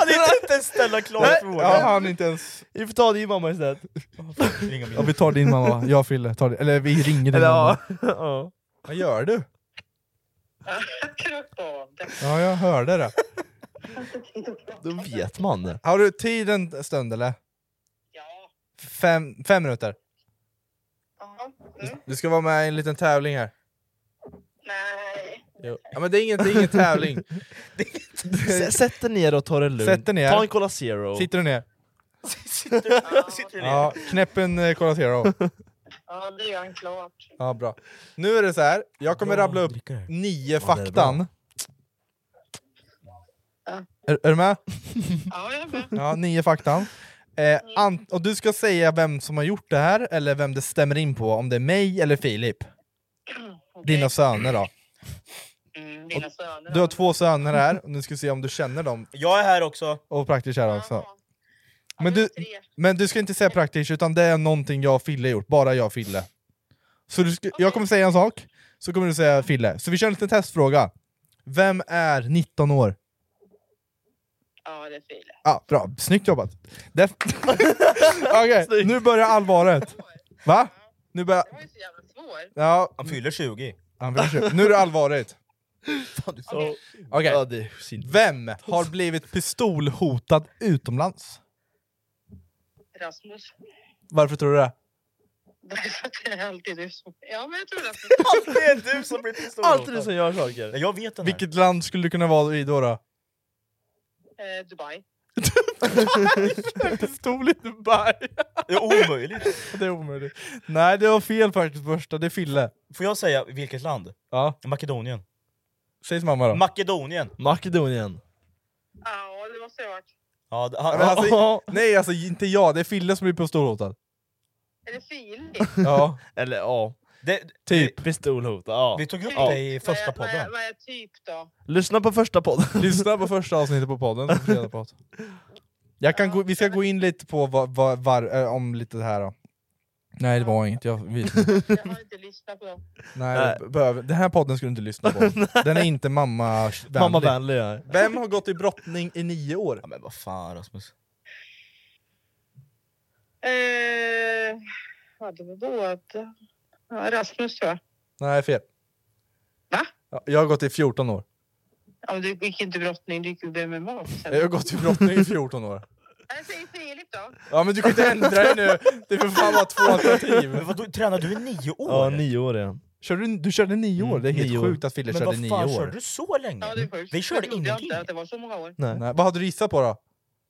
är inte ens ställa klara Nej. frågor! Jag hann inte ens... vi får ta din mamma istället. Ringa min- Ja, vi tar din mamma, jag och Fille. Tar din. Eller vi ringer din Eller mamma. ja. ja. Vad gör du? Ja, jag hörde det. Då vet man det. Har du tid en stund eller? Fem, fem minuter. mm. Du ska vara med i en liten tävling här. Nej. Jo. Ja, men det är ingen, det är ingen tävling. S- Sätt dig ner och ta det lugnt. Sätt dig ner. Ta en Cola Zero. Sitter du ner? Sitter Ja, knäpp en eh, Cola Zero. Ja, det gör han klart. Ja, bra. Nu är det så här. jag kommer rabbla upp nio faktan. Är, är du med? Ja, jag är med. Mm. Ja, nio faktan. Eh, ant- och du ska säga vem som har gjort det här, eller vem det stämmer in på, om det är mig eller Filip. Dina söner då. Mina Mm, söner. Du har två söner här, och nu ska vi se om du känner dem. Jag är här också. Och praktiskt här också. Men du, men du ska inte säga praktiskt, utan det är någonting jag och Fille gjort, bara jag och Fille. Så du ska, jag kommer säga en sak, så kommer du säga Fille. Så vi kör en liten testfråga. Vem är 19 år? Ja, det är Filip. Ja, bra. Snyggt jobbat. Det... Okej, nu börjar allvaret. Va? Nu börjar... Ja. Han fyller 20. Han fyller 20. Nu är det allvaret. Okej. Okej. Vem har blivit pistolhotad utomlands? Rasmus. Varför tror du det? Därför att det är alltid du som... Ja, men jag tror det. Alltid är du som blir pistolhotad. Alltid du som gör saker. Jag vet den här. Vilket land skulle du kunna vara i då? då? Eh, Dubai. Pistol i Dubai! Det är omöjligt. Det är omöjligt. Nej, det var fel faktiskt första. Det är Fille. Får jag säga vilket land? Ja. Makedonien. Säg till mamma då. Makedonien. Makedonien. Ja, det måste jag ha varit. Ja, d- Men han, alltså, nej, alltså inte jag. Det är Fille som blir pistolhotad. Är det Filip? Ja. Eller ja. typ. Pistolhot, ja. Vi tog upp ja. det i första Vad är, podden. vad är typ då? Lyssna på första podden. Lyssna på första avsnittet på podden. så får du reda på att- Jag kan gå, vi ska gå in lite på vad, vad, var, eh, om lite det här då. Nej det var inget, jag vet inte. Jag har inte lyssnat på dem. Nej, Nej. det behöver- Den här podden ska du inte lyssna på. Den är inte mamma-vänlig. Mammavänlig, ja. Vem har gått i brottning i nio år? men vad fan Rasmus. Eh, ja, det var båda. Ja, Rasmus tror jag. Nej, fel. Va? Ja, Jag har gått i 14 år. Ja, men du gick inte i brottning, du gick ju MMA. sen. Jag har gått i brottning i 14 år. Jag säger Filip då. Ja men du kan inte ändra dig nu! Det är för fan bara två alternativ. Men vadå, tränade du i nio år? Ja, nio år igen. Kör du, du körde nio år? Det är helt nio år. sjukt att Fille Men körde vad nio fan år. körde du så länge? Ja, det är sjukt. Vi körde Jag trodde ingenting. inte att det var så många år. Nej. Vad hade du gissat på då?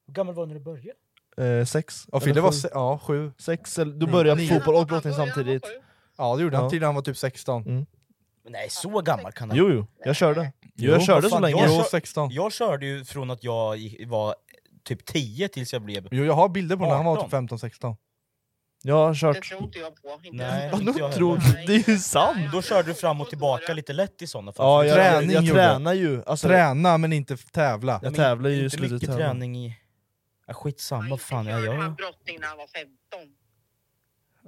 Hur gammal var du när du började? Eh, sex. Ja, Fille Eller var sju. se- ja, sju. Sex, eller, du Nio. började Nio. fotboll och brottning samtidigt. Ja det gjorde han, Ja. till han var typ 16. Nej, så gammal kan han Jo, jo. Jag körde. Jo, jag körde Vad så fan, länge. Jag, Jo, kör- 16. jag körde ju från att jag gick- var typ 10 tills jag blev... Jo, jag har bilder på när han var 18. typ 15-16. Jag har Det kört... tror inte jag på. Inte Nej, ens- inte jag Tror heller. Det är ju sant! Då körde du fram och tillbaka lite lätt i sådana fall. Ja, jag, jag, Träning jag gjorde jag. tränar ju. Alltså, Träna men inte tävla. Jag tävlar ju i Inte mycket slutet. tävlan. träning i... Ja, skitsamma, fan jag Körde gör. han brottning när han var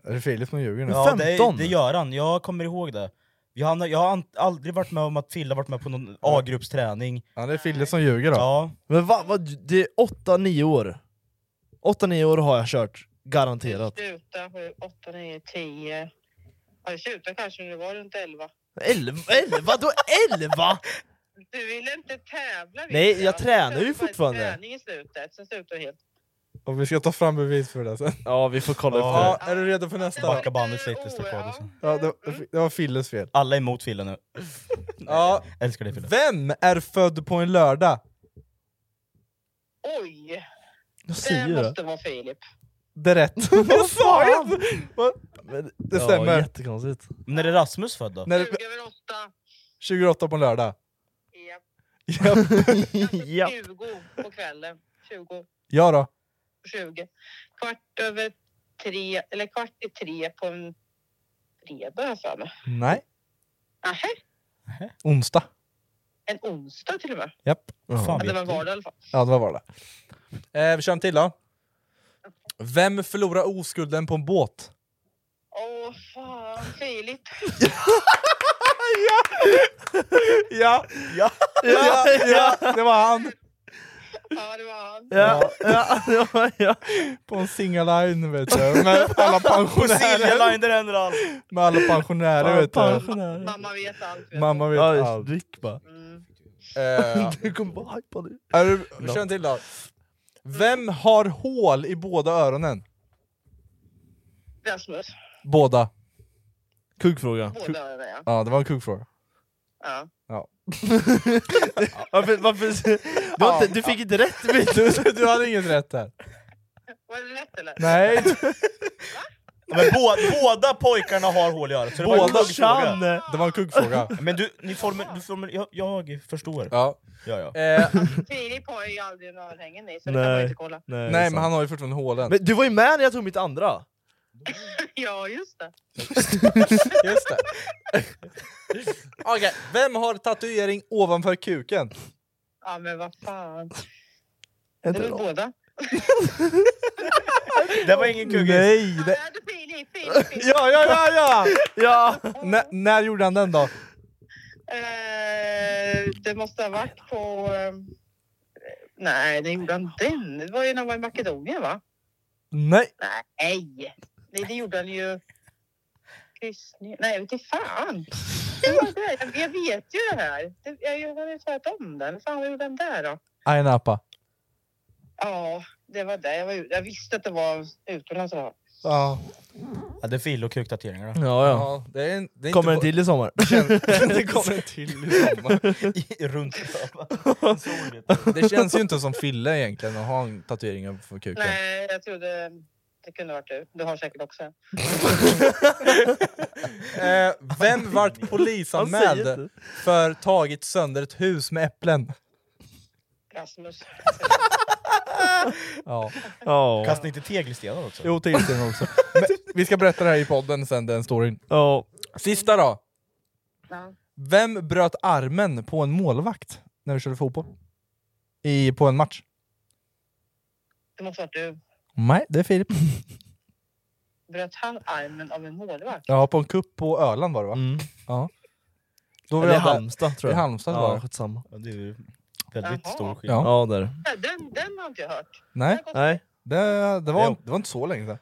15? Är det Filip som ljuger nu? Ja, det, det gör han. Jag kommer ihåg det. Jag har, jag har an- aldrig varit med om att Fille har varit med på någon A-gruppsträning. Ja, det är Fille som ljuger då. Ja. Men va, va, det är 8-9 år. 8-9 år har jag kört. Garanterat. Sluta 8, 9, 10. Ja, du slutade kanske när du var runt 11. 11? 11? Då 11? Du ville inte tävla. vet Nej, jag tränar Du körde ju bara fortfarande. Träning i slutet, sen slutade du helt. Och vi ska ta fram bevis för det sen. Ja, vi får kolla Ja, upp är du redo för nästa? Backa bandet lite, stå kvar liksom. Ja, det, var- det var Filles fel. Alla är emot Fille nu. Ja. Älskar dig Fille. Vem är född på en lördag? Oj! det. Det Jag säger det. måste vara Filip. Det är rätt. Vad sa jag? Men, Det stämmer. Ja, jättekonstigt. När är Rasmus född då? När, 20 över 8. 28 på en lördag. Japp. Japp. 20 på kvällen. 20. Ja då. 20. Kvart över tre, eller kvart i tre på en fredag har jag för mig. Nej. Nähä, Onsdag. en onsdag till och med. Japp. Fan, Ja, det vet var du. vardag i alla fall. Ja, det var vardag. Eh, vi kör en till då. Vem förlorar oskulden på en båt? Åh fan, Filip. Ja! Ja. Ja, ja, det var han! Ja, det var han. Ja, ja, ja, ja. På en singaline vet du, med alla pensionärer, Silja Line, där händer allt! med alla pensionärer vet du. Pensionär. Mamma vet allt. Vet Mamma vet Ja, allt. drick bara. Mm. Eh, Du kommer bara hypa nu. är du, kör en till då. Vem har hål i båda öronen? Rasmus. Båda. Kuggfråga. Båda öronen ja. Ja, det var en kuggfråga. Ja. Ja. Varför, varför, du, har inte, du fick inte rätt vet du. du hade inget rätt där. Var det rätt eller? Nej. Men bå- båda pojkarna har hål i örat, så det var en Båda kuggfråga. kan. Det var en kuggfråga. Men du, ni former, du former, jag, jag förstår. Ja. Ja, ja. Eh, Filip har ju aldrig en örhängen i, så det kan man ju inte kolla. nej, det är men sant. han har ju fortfarande hålen. Men du var ju med när jag tog mitt andra! Ja, just det. Just det. Okej, vem har tatuering ovanför kuken? Ja, men vad fan. Det är Inte väl då. båda. Det var ingen kuggis. Nej! Ja, det Det... är Filip, Filip, Filip. Ja, ja, ja, ja! ja. N- när gjorde han den då? Eh, det måste ha varit på... eh, nej, det gjorde han den. Det var ju när han var i Makedonien, va? Nej! Nej, nej det gjorde han ju... Kryssning. Nej, jag vet inte fan. Det var det. Jag- Jag vet ju det här. Det, jag jag har ju hört om den. Fan, vad gjorde han där då? Ayia Napa. Ja, det var det. Jag, var, jag visste att det var utomlands. det var. Ja. Ja, det är fil och kuktatueringar. Mm. Ja, ja. det är en, det är Kommer inte en till i sommar? det kommer en till i sommar. Runt Det känns ju inte som Fille egentligen att ha en tatuering ovanför kuken. Nej, jag trodde det kunde varit du. Du har säkert också en. Eh, vem vart Han säger polisanmäld för tagit sönder ett hus med äpplen? Rasmus. Ja. Kastade ni inte tegelstenar också? Jo, tegelstenar också. Men vi ska berätta det här i podden sen, den storyn. Ja. Sista då. Ja. Vem bröt armen på en målvakt när vi körde fotboll? I, på en match? Det måste ha varit du. Nej, det är Filip. Bröt han armen av en målvakt? Ja, på en kupp på Öland var det va? Ja. Då Eller jag där. Halmstad tror jag. Mm. I Halmstad ja, var det. skitsamma. Ja, Det är ju väldigt Jaha. stor skillnad. Ja, där. Ja, Den, den har inte jag hört. Nej, Nej. Det, det, var, Jo. det var inte så länge sedan.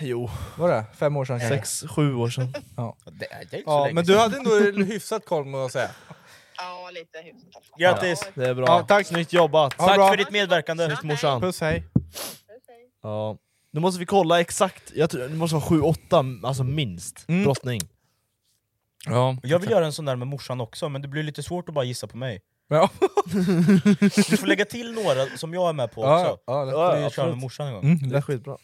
Jo. Var det? Fem år sedan kanske? Sex, sju år sedan. Ja. Det är inte Ja, men du hade ändå hyfsat koll må jag säga. Ja, lite hyfsat. Grattis! Det är bra. Ja, tack. Snyggt jobbat! Ja, bra. för ditt medverkande. Snyggt morsan. Puss hej. Ja. Nu måste vi kolla exakt, jag tror, det måste vara 7-8 alltså minst, brottning. Ja. Jag vill göra en sån där med morsan också, men det blir lite svårt att bara gissa på mig. Ja. Du får lägga till några som jag är med på Ja, också. ja, lätt. Får du Ja, köra absolut. med morsan en gång. Mm, lätt. Skitbra.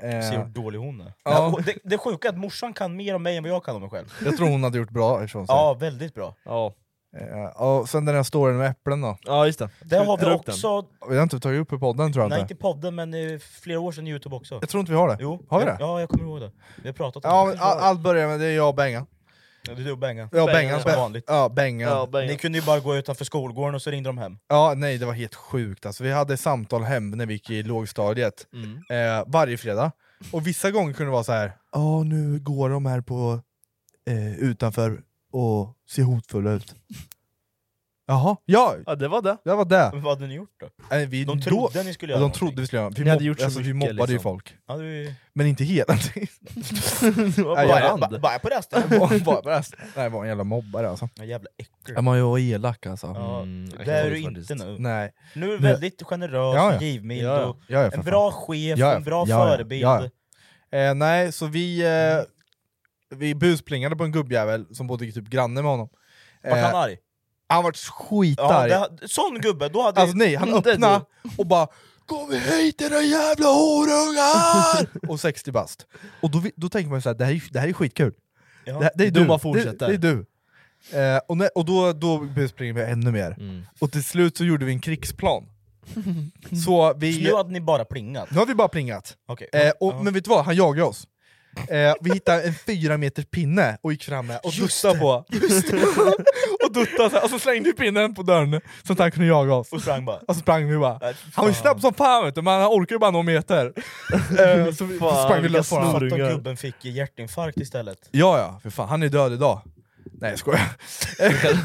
Se hur Eh, dålig hon är. Ja. Och Det, det sjuka är att morsan kan mer om mig än vad jag kan om mig själv. jag tror hon hade gjort bra ifrån sig. Ja, väldigt bra. Ja. Eh, och sen den här storyn med äpplen då. ja, just det. Det har vi Dra upp också, Vi har inte tagit upp i podden tror jag nej inte. inte i podden men eh, flera år sedan i Youtube också. Jag tror inte vi har det. Jo. Har vi Ja, det? Ja, jag kommer ihåg det. Vi har pratat om Ja, det. men all, allt börjar med det är jag och Bengan. Ja, Det är du och Bengan. Ja, Bengan. som vanligt. Ja, Bengan. Ja, Ja, Bengan. Ni kunde ju bara gå utanför skolgården och så ringde de hem. nej det var helt sjukt alltså. Vi hade samtal hem när vi gick i lågstadiet. Mm. Eh, varje fredag. Och vissa gånger kunde det vara så här. Ja, nu går de här på eh, utanför och ser hotfulla ut. Jaha, ja, Ja, det var det. det var det. Vad hade ni gjort då? Nej, vi, De trodde då, ni skulle ja, göra de trodde vi skulle göra Vi, Ni hade mobb- gjort så alltså, vi mycket, mobbade ju liksom. folk. Ja, det var ju- Men inte hela tiden. Det var Nej, bara jag- hand. Ba- Bara på resten! Bara- bara- bara- Nej, var en jävla mobbare alltså. Ja, Jävla äckel. Ja, Man var ju elak alltså. Ja, Mm, jag det är kan du faktiskt. inte nu. Nej. Nu är du väldigt generös, Ja, ja. givmild, Ja, ja. och Ja, ja, för en bra chef, Ja, ja. en bra Ja, ja. förebild. Ja, ja. Eh, nej, så vi, eh, vi busplingade på en gubbjävel som bodde typ granne med honom. Vart han han, arg? han vart skitarg. Ja, det, sån gubbe, då hade... Alltså nej, han Mm, det är öppnade och bara Kom hit era jävla horungar! och 60 bast. Och då, vi- då tänker man ju såhär, det här är, det här är skitkul. Ja. Det, här- det är Dumma du. fortsätter. Det, det är du. Eh, och när, och då, då buspringer vi ännu mer. Och till slut så gjorde vi en krigsplan. så Så vi... nu hade ni bara plingat? Nu har vi bara plingat. Okej. Eh, och, Ja. Men vet du vad, han jagade oss. Eh, vi hittade en fyra meters pinne och gick fram med och duttade på. och duttade så här, och så slängde vi pinnen på dörren så att han kunde jaga oss. Och sprang bara. Och så sprang vi bara. Nej, Han var ju fan. snabb som fan vet du, men han orkar ju bara någon meter. Eh, så vi, Fan, så sprang vi vilka lös på honom. Fattar Ungar. om gubben fick hjärtinfarkt istället. Ja ja, för fan, han är död idag. Nej jag skojar.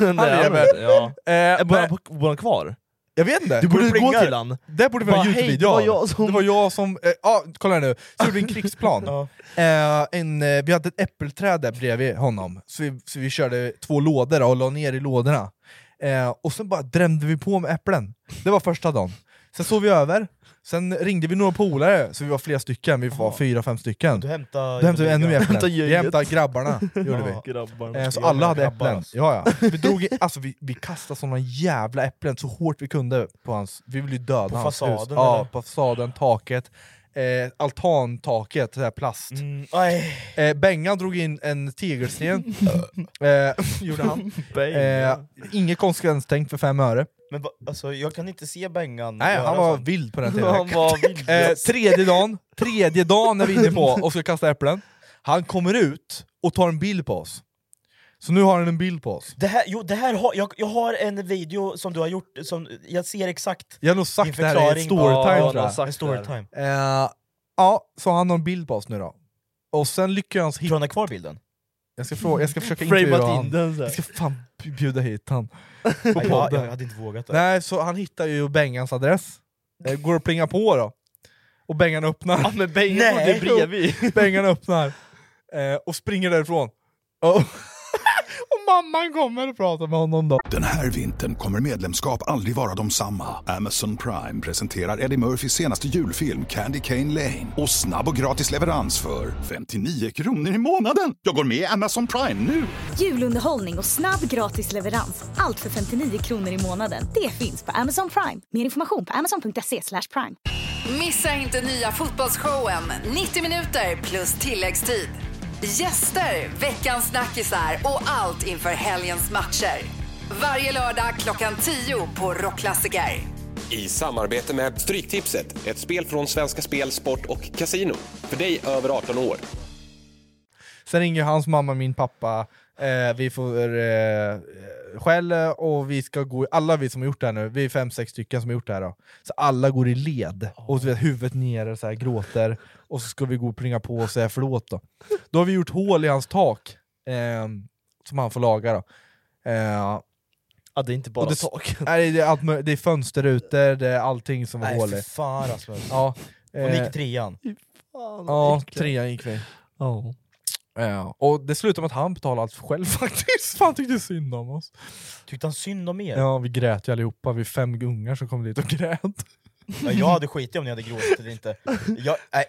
Han lever. Ja. Eh, Är men, bor han- bor han kvar? jag vet inte. Du borde gå plinga. till han. Där borde vi Bara, ha en "Hej, Youtube-video av det var jag som-" Det var jag som... eh, Ja, kolla här nu. Så gjorde vi en krigsplan. Ja. Eh, en, eh, vi hade ett äppelträd där bredvid honom, så vi, så vi körde två lådor och la ner i lådorna. Eh, och sen bara drämde vi på med äpplen. Det var första dagen. Sen sov vi över, Sen ringde vi några polare, så vi var flera stycken, vi var fyra, fem stycken. Du hämtade- Då hämtade vi ännu mer Du äpplen. hämtade Vi gänget. hämtade grabbarna. Gjorde Ja, vi. grabbarna. Eh, Så Jag alla menar hade grabbarna, äpplen. alltså. Ja, ja. Vi, drog, i- alltså, vi, vi kastade såna jävla äpplen så hårt vi kunde på hans... Vi ville ju döda På hans hus. fasaden, Ja, eller? på fasaden, taket. Eh, altantaket, det där plast. Mm. eh, Bengan drog in en tegelsten, eh, gjorde han. Eh, Bengan. inget konsekvenstänk för fem öre. Men va- alltså, jag kan inte se Bengan Nej, göra han var sånt. vild på den tiden. Han var vild. eh, tredje dagen, tredje dagen är vi inne på och ska kasta äpplen. Han kommer ut och tar en bild på oss. Så nu har han en bild på oss. Det här, jo, det här har, jag, jag har en video som du har gjort, som, jag ser exakt Jag har nog sagt din det här i förklaring ett på- storytime Ja, tror jag. en storytime. Eh, ja, så han har en bild på oss nu då. Och sen lyckas han hitta... Tror han har kvar bilden? Jag ska, fråga, jag ska försöka Framat intervjua in honom. den så här. Jag ska fan bjuda hit han. På Nej, jag- podden. jag hade inte vågat det. Nej, så han hittar ju Bengans adress. Eh, Går och plingar på då. Och Bengan öppnar. Ja, men Bengan bodde bredvid. Bengan öppnar. Eh, och springer därifrån. Och- Och mamman kommer och pratar med honom då. Den här vintern kommer medlemskap aldrig vara de samma. Amazon Prime presenterar Eddie Murphys senaste julfilm Candy Cane Lane. Och snabb och gratis leverans för 59 kronor i månaden. Jag går med i Amazon Prime nu! Julunderhållning och snabb gratis leverans. Allt för 59 kronor i månaden. Det finns på Amazon Prime. Mer information på amazon.se slash prime. Missa inte nya fotbollsshowen 90 minuter plus tilläggstid. Gäster, veckans snackisar och allt inför helgens matcher. Varje lördag klockan 10 på Rockklassiker. I samarbete med Stryktipset, ett spel från Svenska Spel, Sport och Casino. För dig över 18 år. Sen ringer hans mamma min pappa, eh, vi får eh, skäll och vi ska gå, i- alla vi som har gjort det här nu, vi är fem, sex stycken som har gjort det här då. Så alla går i led, och du vet, huvudet nere så här, gråter, och så ska vi gå och plinga på och säga förlåt då. Då har vi gjort hål i hans tak, eh, som han får laga då. Eh, Ja, det är inte bara och det, tak. Nej, det, är allt, möj- det är fönsterrutor, det är allting som var Nej, hål i. fy fan, Rasmus. Ja, Och Eh, ni gick i trean. Fan, vad Ja, äckligt. trean gick vi. Ja. Ja, och det slutade med att han betalade allt själv faktiskt. Fan tyckte synd om oss. Tyckte han synd om er? Ja, vi grät ju allihopa. Vi är fem ungar som kom dit och grät. Ja, jag hade skitit om ni hade gråtit eller inte. Jag, nej.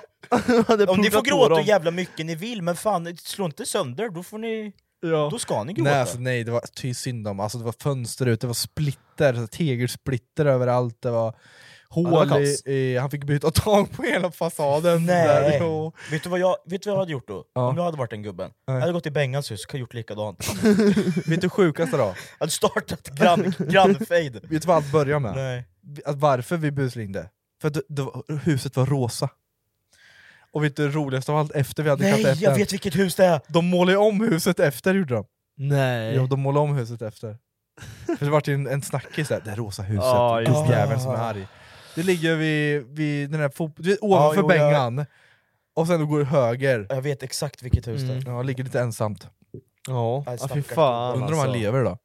Ja. om ni pluggat på får gråta dem. hur jävla mycket ni vill, men fan slå inte sönder, då får ni... Då ska ni gråta. Nej, alltså, nej, det var ty synd om. Alltså, det var fönster ut, det var splitter, så här, tegelsplitter överallt. Det var hål Ja, det var i, kaos. i... Han fick byta tag på hela fasaden. Nej! Där, och- Vet, du vad jag, vet du vad jag hade gjort då? Ja. Om jag hade varit den gubben? Jag hade gått till Bengans hus och gjort likadant. Vet du det sjukaste då? hade startat grann, grannfejd. Vet du vad allt börjar med? Nej. Att varför vi busringde? För att det, det var, huset var rosa. Och vet du det roligaste av allt? Efter vi hade Nej, kastat jag äpplen- vet vilket hus det är! De målade ju om huset efter gjorde de. Nej. Jo, de målade om huset efter. För det vart ju en, en snackis där, det här rosa huset, Ja, just det. gubbjäveln som är arg. Det ligger vid, vid den här fot- du vet, Ja, ovanför jo, jag- Bengan, och sen då går det höger. Jag vet exakt vilket hus det är. Ja, ligger lite ensamt. Ja, ja fy stackars fan Undrar om han alltså. lever då?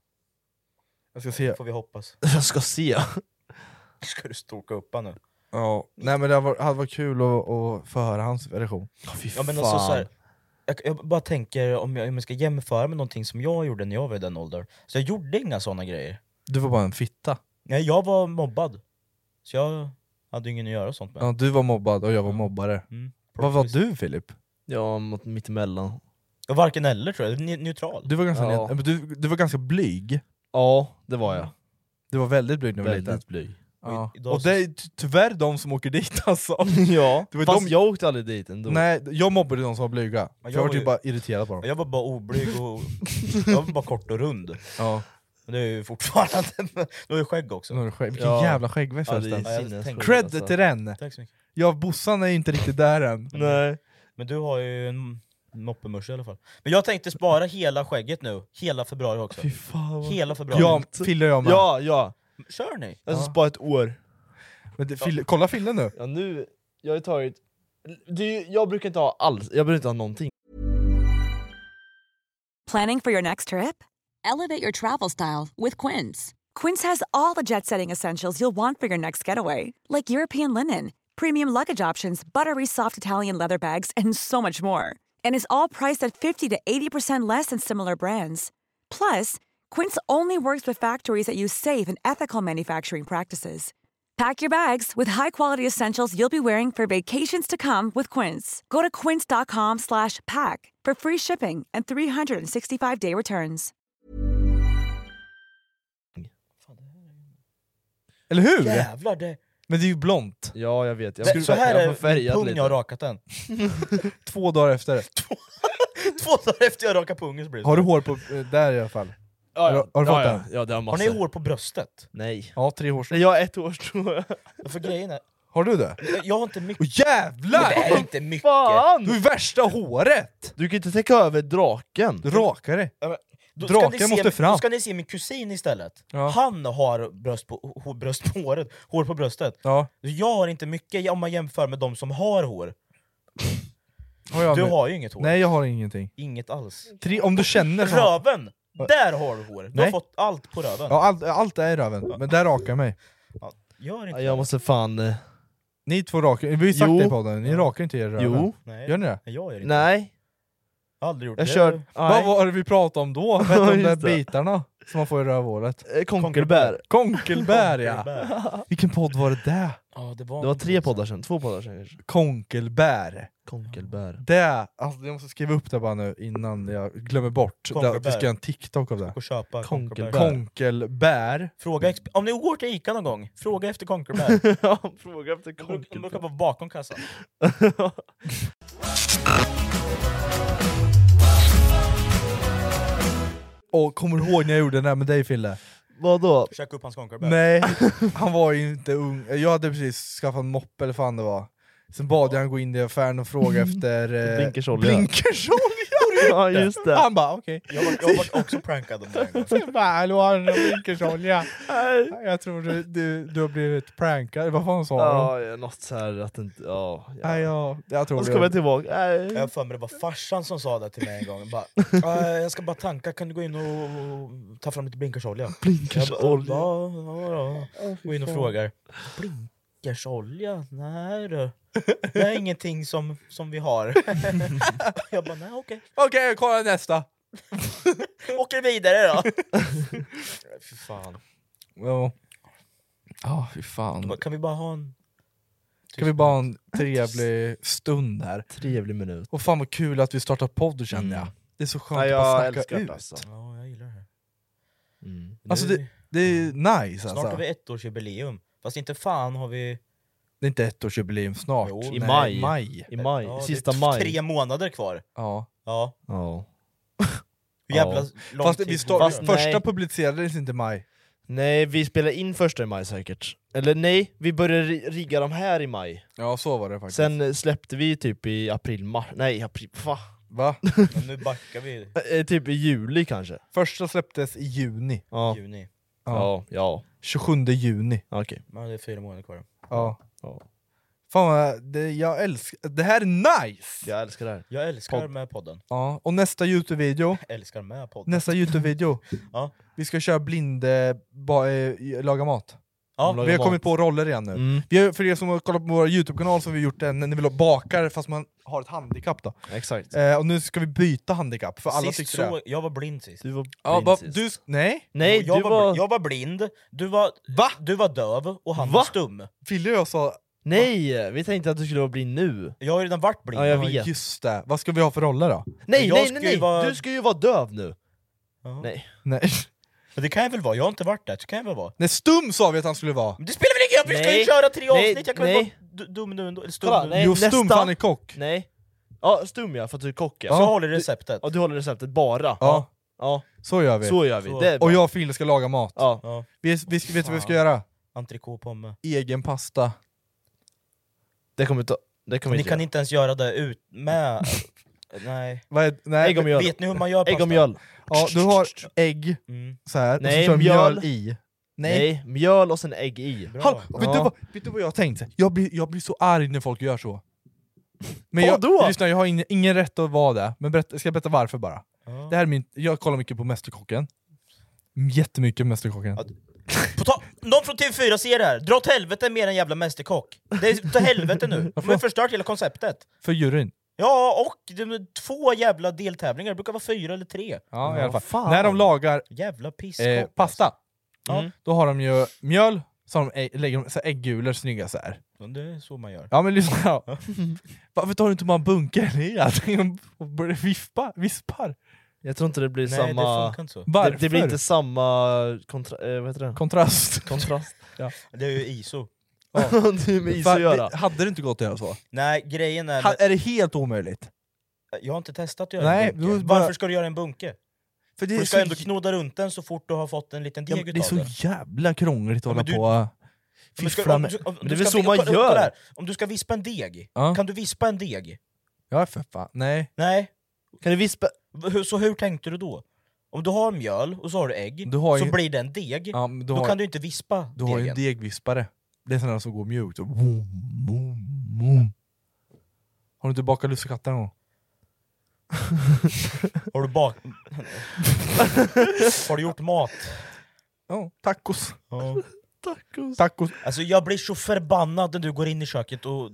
Jag ska se. Får vi hoppas. Jag ska se. Ska du stoka upp han nu? Ja. Nej men det hade varit, hade varit kul att, att få höra hans version. Ja, men alltså, så här, jag, jag bara tänker om jag, om jag ska jämföra med någonting som jag gjorde när jag var i den åldern. Så jag gjorde inga sådana grejer. Du var bara en fitta. Nej, jag var mobbad. Så jag hade ju ingen att göra sånt med. Ja, du var mobbad och jag var mobbare. Vad var du Filip? Ja, mot mittemellan. Jag var varken eller tror jag, Ne- neutral. Du var ganska, Ja. net- men du, du var ganska blyg. Ja, det var jag. Du var väldigt blyg när du var Väldigt liten. blyg. Ja. Och i- idag Och så- det är ty- tyvärr de som åker dit alltså. ja, det var fast de... jag åkte aldrig dit ändå. Nej, jag mobbade de som var blyga. För jag jag var var typ ju- bara irriterad på dem. Jag var bara oblyg och jag var bara kort och rund. Ja. Men det är ju fortfarande... Du har ju skägg också. Nu har du skägg. Vilken jävla skäggväxt förresten. Ja, jag tänkte- alltså. Cred till den! Tack så mycket. Ja, Bossan är ju inte riktigt där än. Nej. Men du har ju en moppemörs i alla fall. Men jag tänkte spara hela skägget nu, hela februari också. hela februari. Ja, Fille och jag med. Ja, ja. Kör ni? Jag ska Ja. spara ett år. Men det, Fille, kolla Fille nu. Ja, nu, jag har ju tagit... Det är, ju- jag brukar inte ha alls, jag brukar inte ha någonting. Planning for your next trip? Elevate your travel style with Quince. Quince has all the jet setting essentials you'll want for your next getaway, like European linen, premium luggage options, buttery soft Italian leather bags, and so much more. And is all priced at 50 to 80% less than similar brands. Plus, Quince only works with factories that use safe and ethical manufacturing practices. Pack your bags with high-quality essentials you'll be wearing for vacations to come with Quince. Go to quince.com slash pack for free shipping and 365-day returns. Eller hur? Jävlar, det... Men det är ju blont. Ja, jag vet. Jag Det- så här är pung jag har har rakat den. Två dagar efter. Två dagar efter jag rakade pungen så blir det Har du så. hår på eh, där i alla fall? Ja, ja. Har, har du fått Ja, ja. den? Ja, det har Har ni hår på bröstet? Nej. Ja, tre hårstrån. Jag har ett hårstrå. För grejen är... Har du det? Jag har inte mycket. Åh jävlar! Det är inte mycket. Fan! Du är värsta håret! Du kan inte täcka över draken. Rakare. Ja, men då ska Draken ni se- måste fram. Då ska ni se min kusin istället. Ja. Han har bröst på, hår, bröst på håret, hår på bröstet. Ja. Jag har inte mycket om man jämför med de som har hår. Har jag Du nu? har ju inget hår. Nej, jag har ingenting. Inget alls. Tre, om du känner så... Röven! Där har du hår. Du Nej. har fått allt på röven. Ja, allt, allt är i röven, men där rakar jag mig. Gör inte Jag måste fan... eh, Ni två rakar, vi har ju sagt Jo. det i podden, ni rakar inte er röven. Jo. Gör ni det? Nej, jag gör inte Nej. det. Aldrig gjort Jag det. kör... Vad var det vi pratade om då? Vad hette de där Just det. bitarna som man får i rövhålet? eh, Konkelbär. Konkelbär ja! Konkelbär. Vilken podd var det där? Ja, det Det var tre poddar sen, två poddar sen kanske. Konkelbär. Konkelbär. Det, alltså jag måste skriva upp det bara nu innan jag glömmer bort. Det- Vi Konkelbär. ska göra en TikTok av det. Och köpa Konkelbär. konkelbär. Konkelbär. Fråga exp- om ni går till Ica någon gång, fråga efter konkelbär. ja, fråga efter konkelbär. De brukar vara bakom kassan. Och kommer du ihåg när jag gjorde den där med dig Fille? Vadå? Käka upp hans konkelbär. Nej, han var ju inte ung. Jag hade precis skaffat en moppe eller fan det var. Sen bad jag han gå in i affären och fråga efter... Eh, Blinkersolja. Blinkersolja! Ja, just det. Han bara okej. Jag var, jag var också prankad om det här. Sen bara hallå har du någon blinkersolja? jag tror du, du, du har blivit prankad, vad fan sa de? Ja, ja, något så här att inte... Ja, ja. Nej, jag, jag tror Och så det. kommer jag tillbaka. Nej. Jag har för mig det var farsan som sa det till mig en gång. Bara, "Eh, jag ska bara tanka, kan du gå in och ta fram lite blinkersolja? Blinkersolja. Jag bara, Ja, ja, ja. Gå in och frågar. Blinkersolja? Nej du. Det är ingenting som, som vi har. Jag bara, nej okej. Okej, kolla nästa! Åker vidare då. Fy fan. Ja, Ja, fy fan. Kan vi bara ha en... Kan vi bara ha en trevlig stund här? Trevlig minut. Och fan vad kul att vi startar podd känner jag. Det är så skönt Nej, att bara Mm. jag snacka älskar det, ut. alltså. Ja, jag gillar det här. Mm. Alltså Nu- det, det är nice Snart alltså. har vi ett års jubileum. Fast inte fan har vi... Det är inte ettårsjubileum snart. Jo, I Nej, maj. maj. I maj. Ja, det är Sista t- maj. Tre månader kvar. Ja. Ja. Ja. Hur jävla Ja. lång Fast tid vi får start, vi Fast första nej. publicerades inte i maj. Nej, vi spelar in första i maj säkert. Eller nej, vi började ri- rigga de här i maj. Ja så var det faktiskt. Sen eh, släppte vi typ i april, mars... Nej, april... Fa. Va? Men nu backar vi i Eh, eh, typ i juli kanske. Första släpptes i juni. Ja, juni. ja, ja. 27 juni. ja. okej. Men det är fyra månader kvar. Ja. Ja. Fan vad, det, jag älskar, det här är nice! Jag älskar det här. Jag älskar Podd. med podden. Ja. Och nästa Youtube-video, Älskar med podden. nästa Youtube-video. Ja. Vi ska köra blind, eh, ba, eh, laga mat. Ja, vi har kommit på roller igen nu. Mm, Vi har, för er som har kollat på vår Youtube-kanal så har vi gjort en när vi bakar fast man har ett handikapp då. exakt. Eh, och nu ska vi byta handikapp, för alla sist tyckte så, det. jag var blind sist. Du var Ja, blind va, sist. du, nej, Nej, Och jag, du var, var... bl- jag var blind, du var, Va? du var döv och han Va? var stum. Fille och jag sa... Nej! Vi tänkte att du skulle vara blind nu. Jag har ju redan varit blind. Ja, jag Ja, vet. Just det, vad ska vi ha för roller då? Nej, jag nej, ska nej, ju nej! vara- Du ska ju vara döv nu! Ja. Nej. Nej. Men det kan jag väl vara, jag har inte varit där. Så kan jag väl vara. nej, stum sa vi att han skulle vara! Men det spelar väl ingen roll, vi ska ju Nej. köra tre Nej, avsnitt, jag kan väl nej. vara d- dum nu ändå. Eller stum Kolla, nu. nej. jo, stum nästa. för han är kock! Nej. Ja, stum ja, för att du är kock Så ja. jag håller i receptet. ja. Du håller receptet bara. Ja, Ja, så gör vi. så gör vi. Så. Det är bra. och jag och Fille ska laga mat. Ja. Ja, Vi, vi, ska- vet du vad vi ska Fan. göra? entrecote pomme. Egen pasta. Det kommer inte... Det kommer Ni inte kan göra. inte ens göra det ut med... nej. Vad är, nej, Ägg och mjöl. Vet ni hur man gör Ägg pasta? och mjöl. ja, du har ägg Mm. så här, och Nej, så kör mjöl, mjöl. i. Nej. mjöl och sen ägg i. Bra. Hallå, vet, du Ja. vad, vet du vad jag har tänkt? Jag blir, jag blir så arg när folk gör så. Men jag, Vadå? lyssna, jag har ingen, ingen rätt att vara det, men berätta, ska jag berätta varför bara? Ja. Det här är min, jag kollar mycket på Mästerkocken. Jättemycket Mästerkocken. Ja, På ta- Någon från TV4 ser det här, dra åt helvete med en jävla mästerkock! Det är till helvete nu! De har ju förstört hela konceptet! För juryn. Ja, och det är två jävla deltävlingar, det brukar vara fyra eller tre. Ja, i Ja, alla fall. fan. alltså. När de lagar Jävla pisskock! eh, pasta, alltså. då har de ju mjöl, så har de ägg, lägger de så här äggulor snygga så här. Men Det är så man gör. Ja men lyssna ja. Varför tar du inte bara en bunke i allting och börjar vifpa, vispar? Jag tror inte det blir Nej, samma... det funkar inte så. Det, det blir Varför? inte samma kontra, eh, vad heter det? kontrast. kontrast. ja. Det är ju ISO. det är med is att göra. Hade det inte gått att göra så? Nej, grejen är... Ha, är det helt omöjligt? Jag har inte testat att göra Nej, en bunke. då bara- Varför ska du göra en bunke? För det du är ska så- ändå knåda runt den så fort du har fått en liten Ja, deg men utav det är så den. jävla krångligt att Ja, hålla men på du- och Om du ska- fiffla om med... du- om du ska- kolla upp det här. Om du ska vispa en deg, Ja. kan du vispa en deg? Ja för fan, nej. Nej. Kan du vispa? Så hur tänkte du då? Om du har mjöl och så har du ägg, Du har så ju- blir det en deg, Ja, men du då har- kan du inte vispa Du har ju degen. en degvispare. Det är sådana som går mjukt. Och boom, boom, boom. Har du inte bakat lussekatter någon gång? Har du bak... har du gjort mat? Ja, tacos. Tacos. tacos. Alltså jag blir så förbannad när du går in i köket och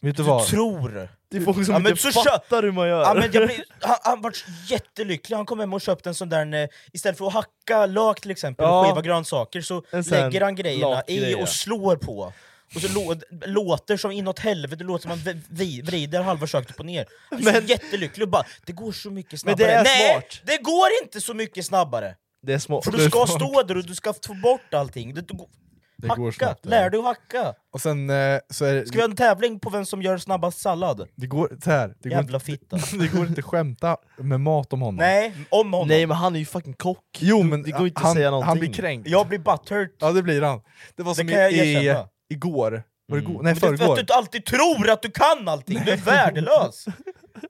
Vet du vad? tror... Det är folk som men inte så fattar hur man gör. Ja, men jag blir, han, han var jättelycklig, han kom hem och köpte en sån där, eh, istället för att hacka lök till exempel, Ja. och skiva grönsaker, så En sån lägger han grejerna lak i grej, ja. och slår på. Och så lå, låter som inåt helvete, låter som man v- vi, vrider halva köket upp och ner. Han är så jättelycklig och bara det går så mycket Men snabbare. det är Nej! smart. Det går inte så mycket snabbare! Det är smart. För du ska stå där och du ska få bort allting. Det, du, Det hacka! går snabbt, ja. Lär dig att hacka! Och sen eh, så är det... Ska vi ha en tävling på vem som gör snabbast sallad? Det går, så här, det går, Jävla inte, fitta. det går inte att skämta med mat om honom. Nej, om honom. Nej men han är ju fucking kock. Jo men det går inte att han, säga han någonting. blir kränkt. Jag blir butthurt. Ja det blir han. Det var som kan jag i, i, erkänna. Mm. igår. Var det igår? Men Nej det är för att förrgår. du alltid tror att du kan allting, du är värdelös!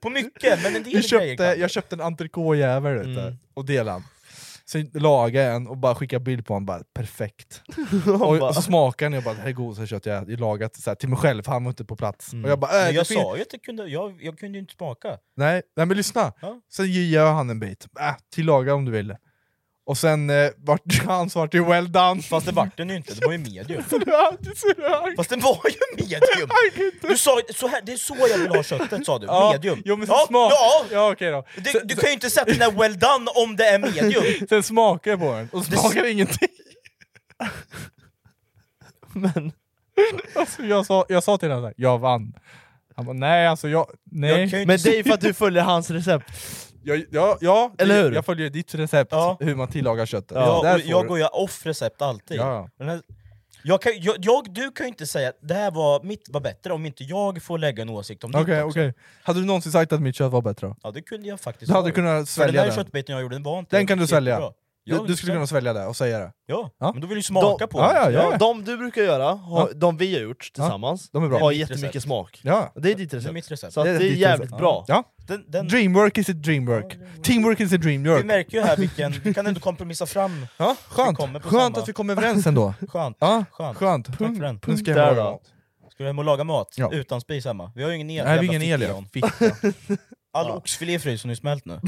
På mycket, men en del Jag grejer Mm. köpte, kan du. jag köpte en entrecôte-jävel vet du, och delade den. Sen lagade jag en och bara skickade bild på honom, bara perfekt. och, bara- och så smakade den och jag bara det här är godaste kött jag har lagat så här, till mig själv, för han var inte på plats. Och jag bara, äh, Mm. Men det jag fin- sa ju att jag kunde, jag, jag kunde ju inte smaka. Nej, nej men lyssna! Ja. Sen ger jag han en bit, äh, tillaga om du vill. Och sen eh, vart han svart ju well done! Fast det vart den ju inte, det var ju medium. Fast Fast den var ju medium! Du sa ju- så här, det är så jag vill ha köttet sa du, Ja, medium. jo, men sen ja, smak- ja. ja, okej då. Du, du kan ju inte sätta den där well done om det är medium! Sen smakar jag på den, och Det- smakar ingenting! men... Alltså, jag, sa, jag sa till honom såhär, jag vann. Han bara, nej alltså jag... Nej. Jag kan ju Men inte det är ju för att du följer hans recept. Jag, ja, ja Eller jag- hur? Jag följer ditt recept, hur man tillagar köttet. Ja, Där och får jag du- går ju off recept alltid. Ja, ja. Den här, jag kan, jag, jag, du kan ju inte säga att det här var, mitt var bättre om inte jag får lägga en åsikt om ditt Okej, också. okej. Hade du någonsin sagt att mitt kött var bättre då? Ja det kunde jag faktiskt Du hade varit. kunnat För svälja den där den. köttbiten jag gjorde, den var inte Den kan du jättebra. svälja? Ja, Du, du skulle kunna svälja det och säga det? Ja, Ja. men då vill du ju smaka De- på ja, ja, den. ja. De du brukar göra, har, de vi har gjort tillsammans, de är bra. har Det är mitt jättemycket recept. smak. Ja. Det är ditt Det är recept. mitt recept. Så att det är ditt jävligt recept. bra. Ja. Den, den, Dreamwork is a dreamwork. Teamwork is a vi dreamwork. märker ju här vilken, vi kan ändå kompromissa fram. Ja, Vi skönt kommer på skönt samma. att vi kom överens ändå. Skönt, Ja, skönt. skönt. Tack för den. Nu ska jag Där laga då. mat. Ska du hem och laga mat? Ja. Utan spis hemma? Vi har ju ingen el. Nej, vi jävla har ingen el. fickon. ja. Fitta. All oxfilé är frysen har ju smält nu.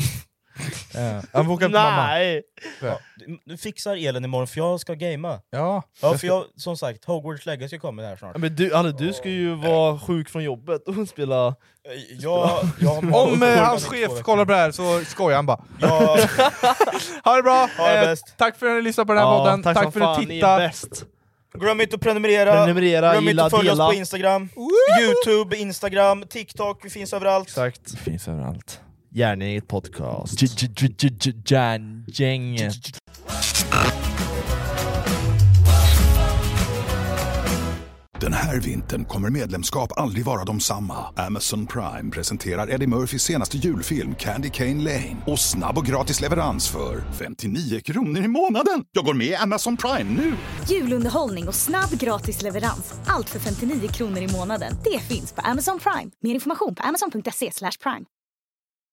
Ja, Jag får åka på mamma. Nej! Ja, du, du fixar elen imorgon för jag ska gamea. Ja. Ja, för jag, som sagt, Hogwarts Legacy kommer här snart. Men du, Alle, du ska ju vara sjuk från jobbet och spela... Jag, jag har Om eh, jag- hans chef kollar på det här så skojar han bara. Jag, Ha det bra! Ha det Eh, bäst. Tack för att ni lyssnade på den här podden, tack, som för att fan, ni ni är tittade. bäst. Glöm inte att prenumerera, Prenumerera, glöm inte gilla, att följa dela. oss på Instagram, Youtube, Instagram, TikTok, vi finns överallt. Exakt. Finns överallt. Järngänget podcast. Järngänget. Den här vintern kommer medlemskap aldrig vara de samma. Amazon Prime presenterar Eddie Murphys senaste julfilm Candy Cane Lane. Och snabb och gratis leverans för 59 kronor i månaden. Jag går med i Amazon Prime nu! Julunderhållning och snabb gratis leverans. Allt för 59 kronor i månaden. Det finns på Amazon Prime. Mer information på amazon.se slash prime.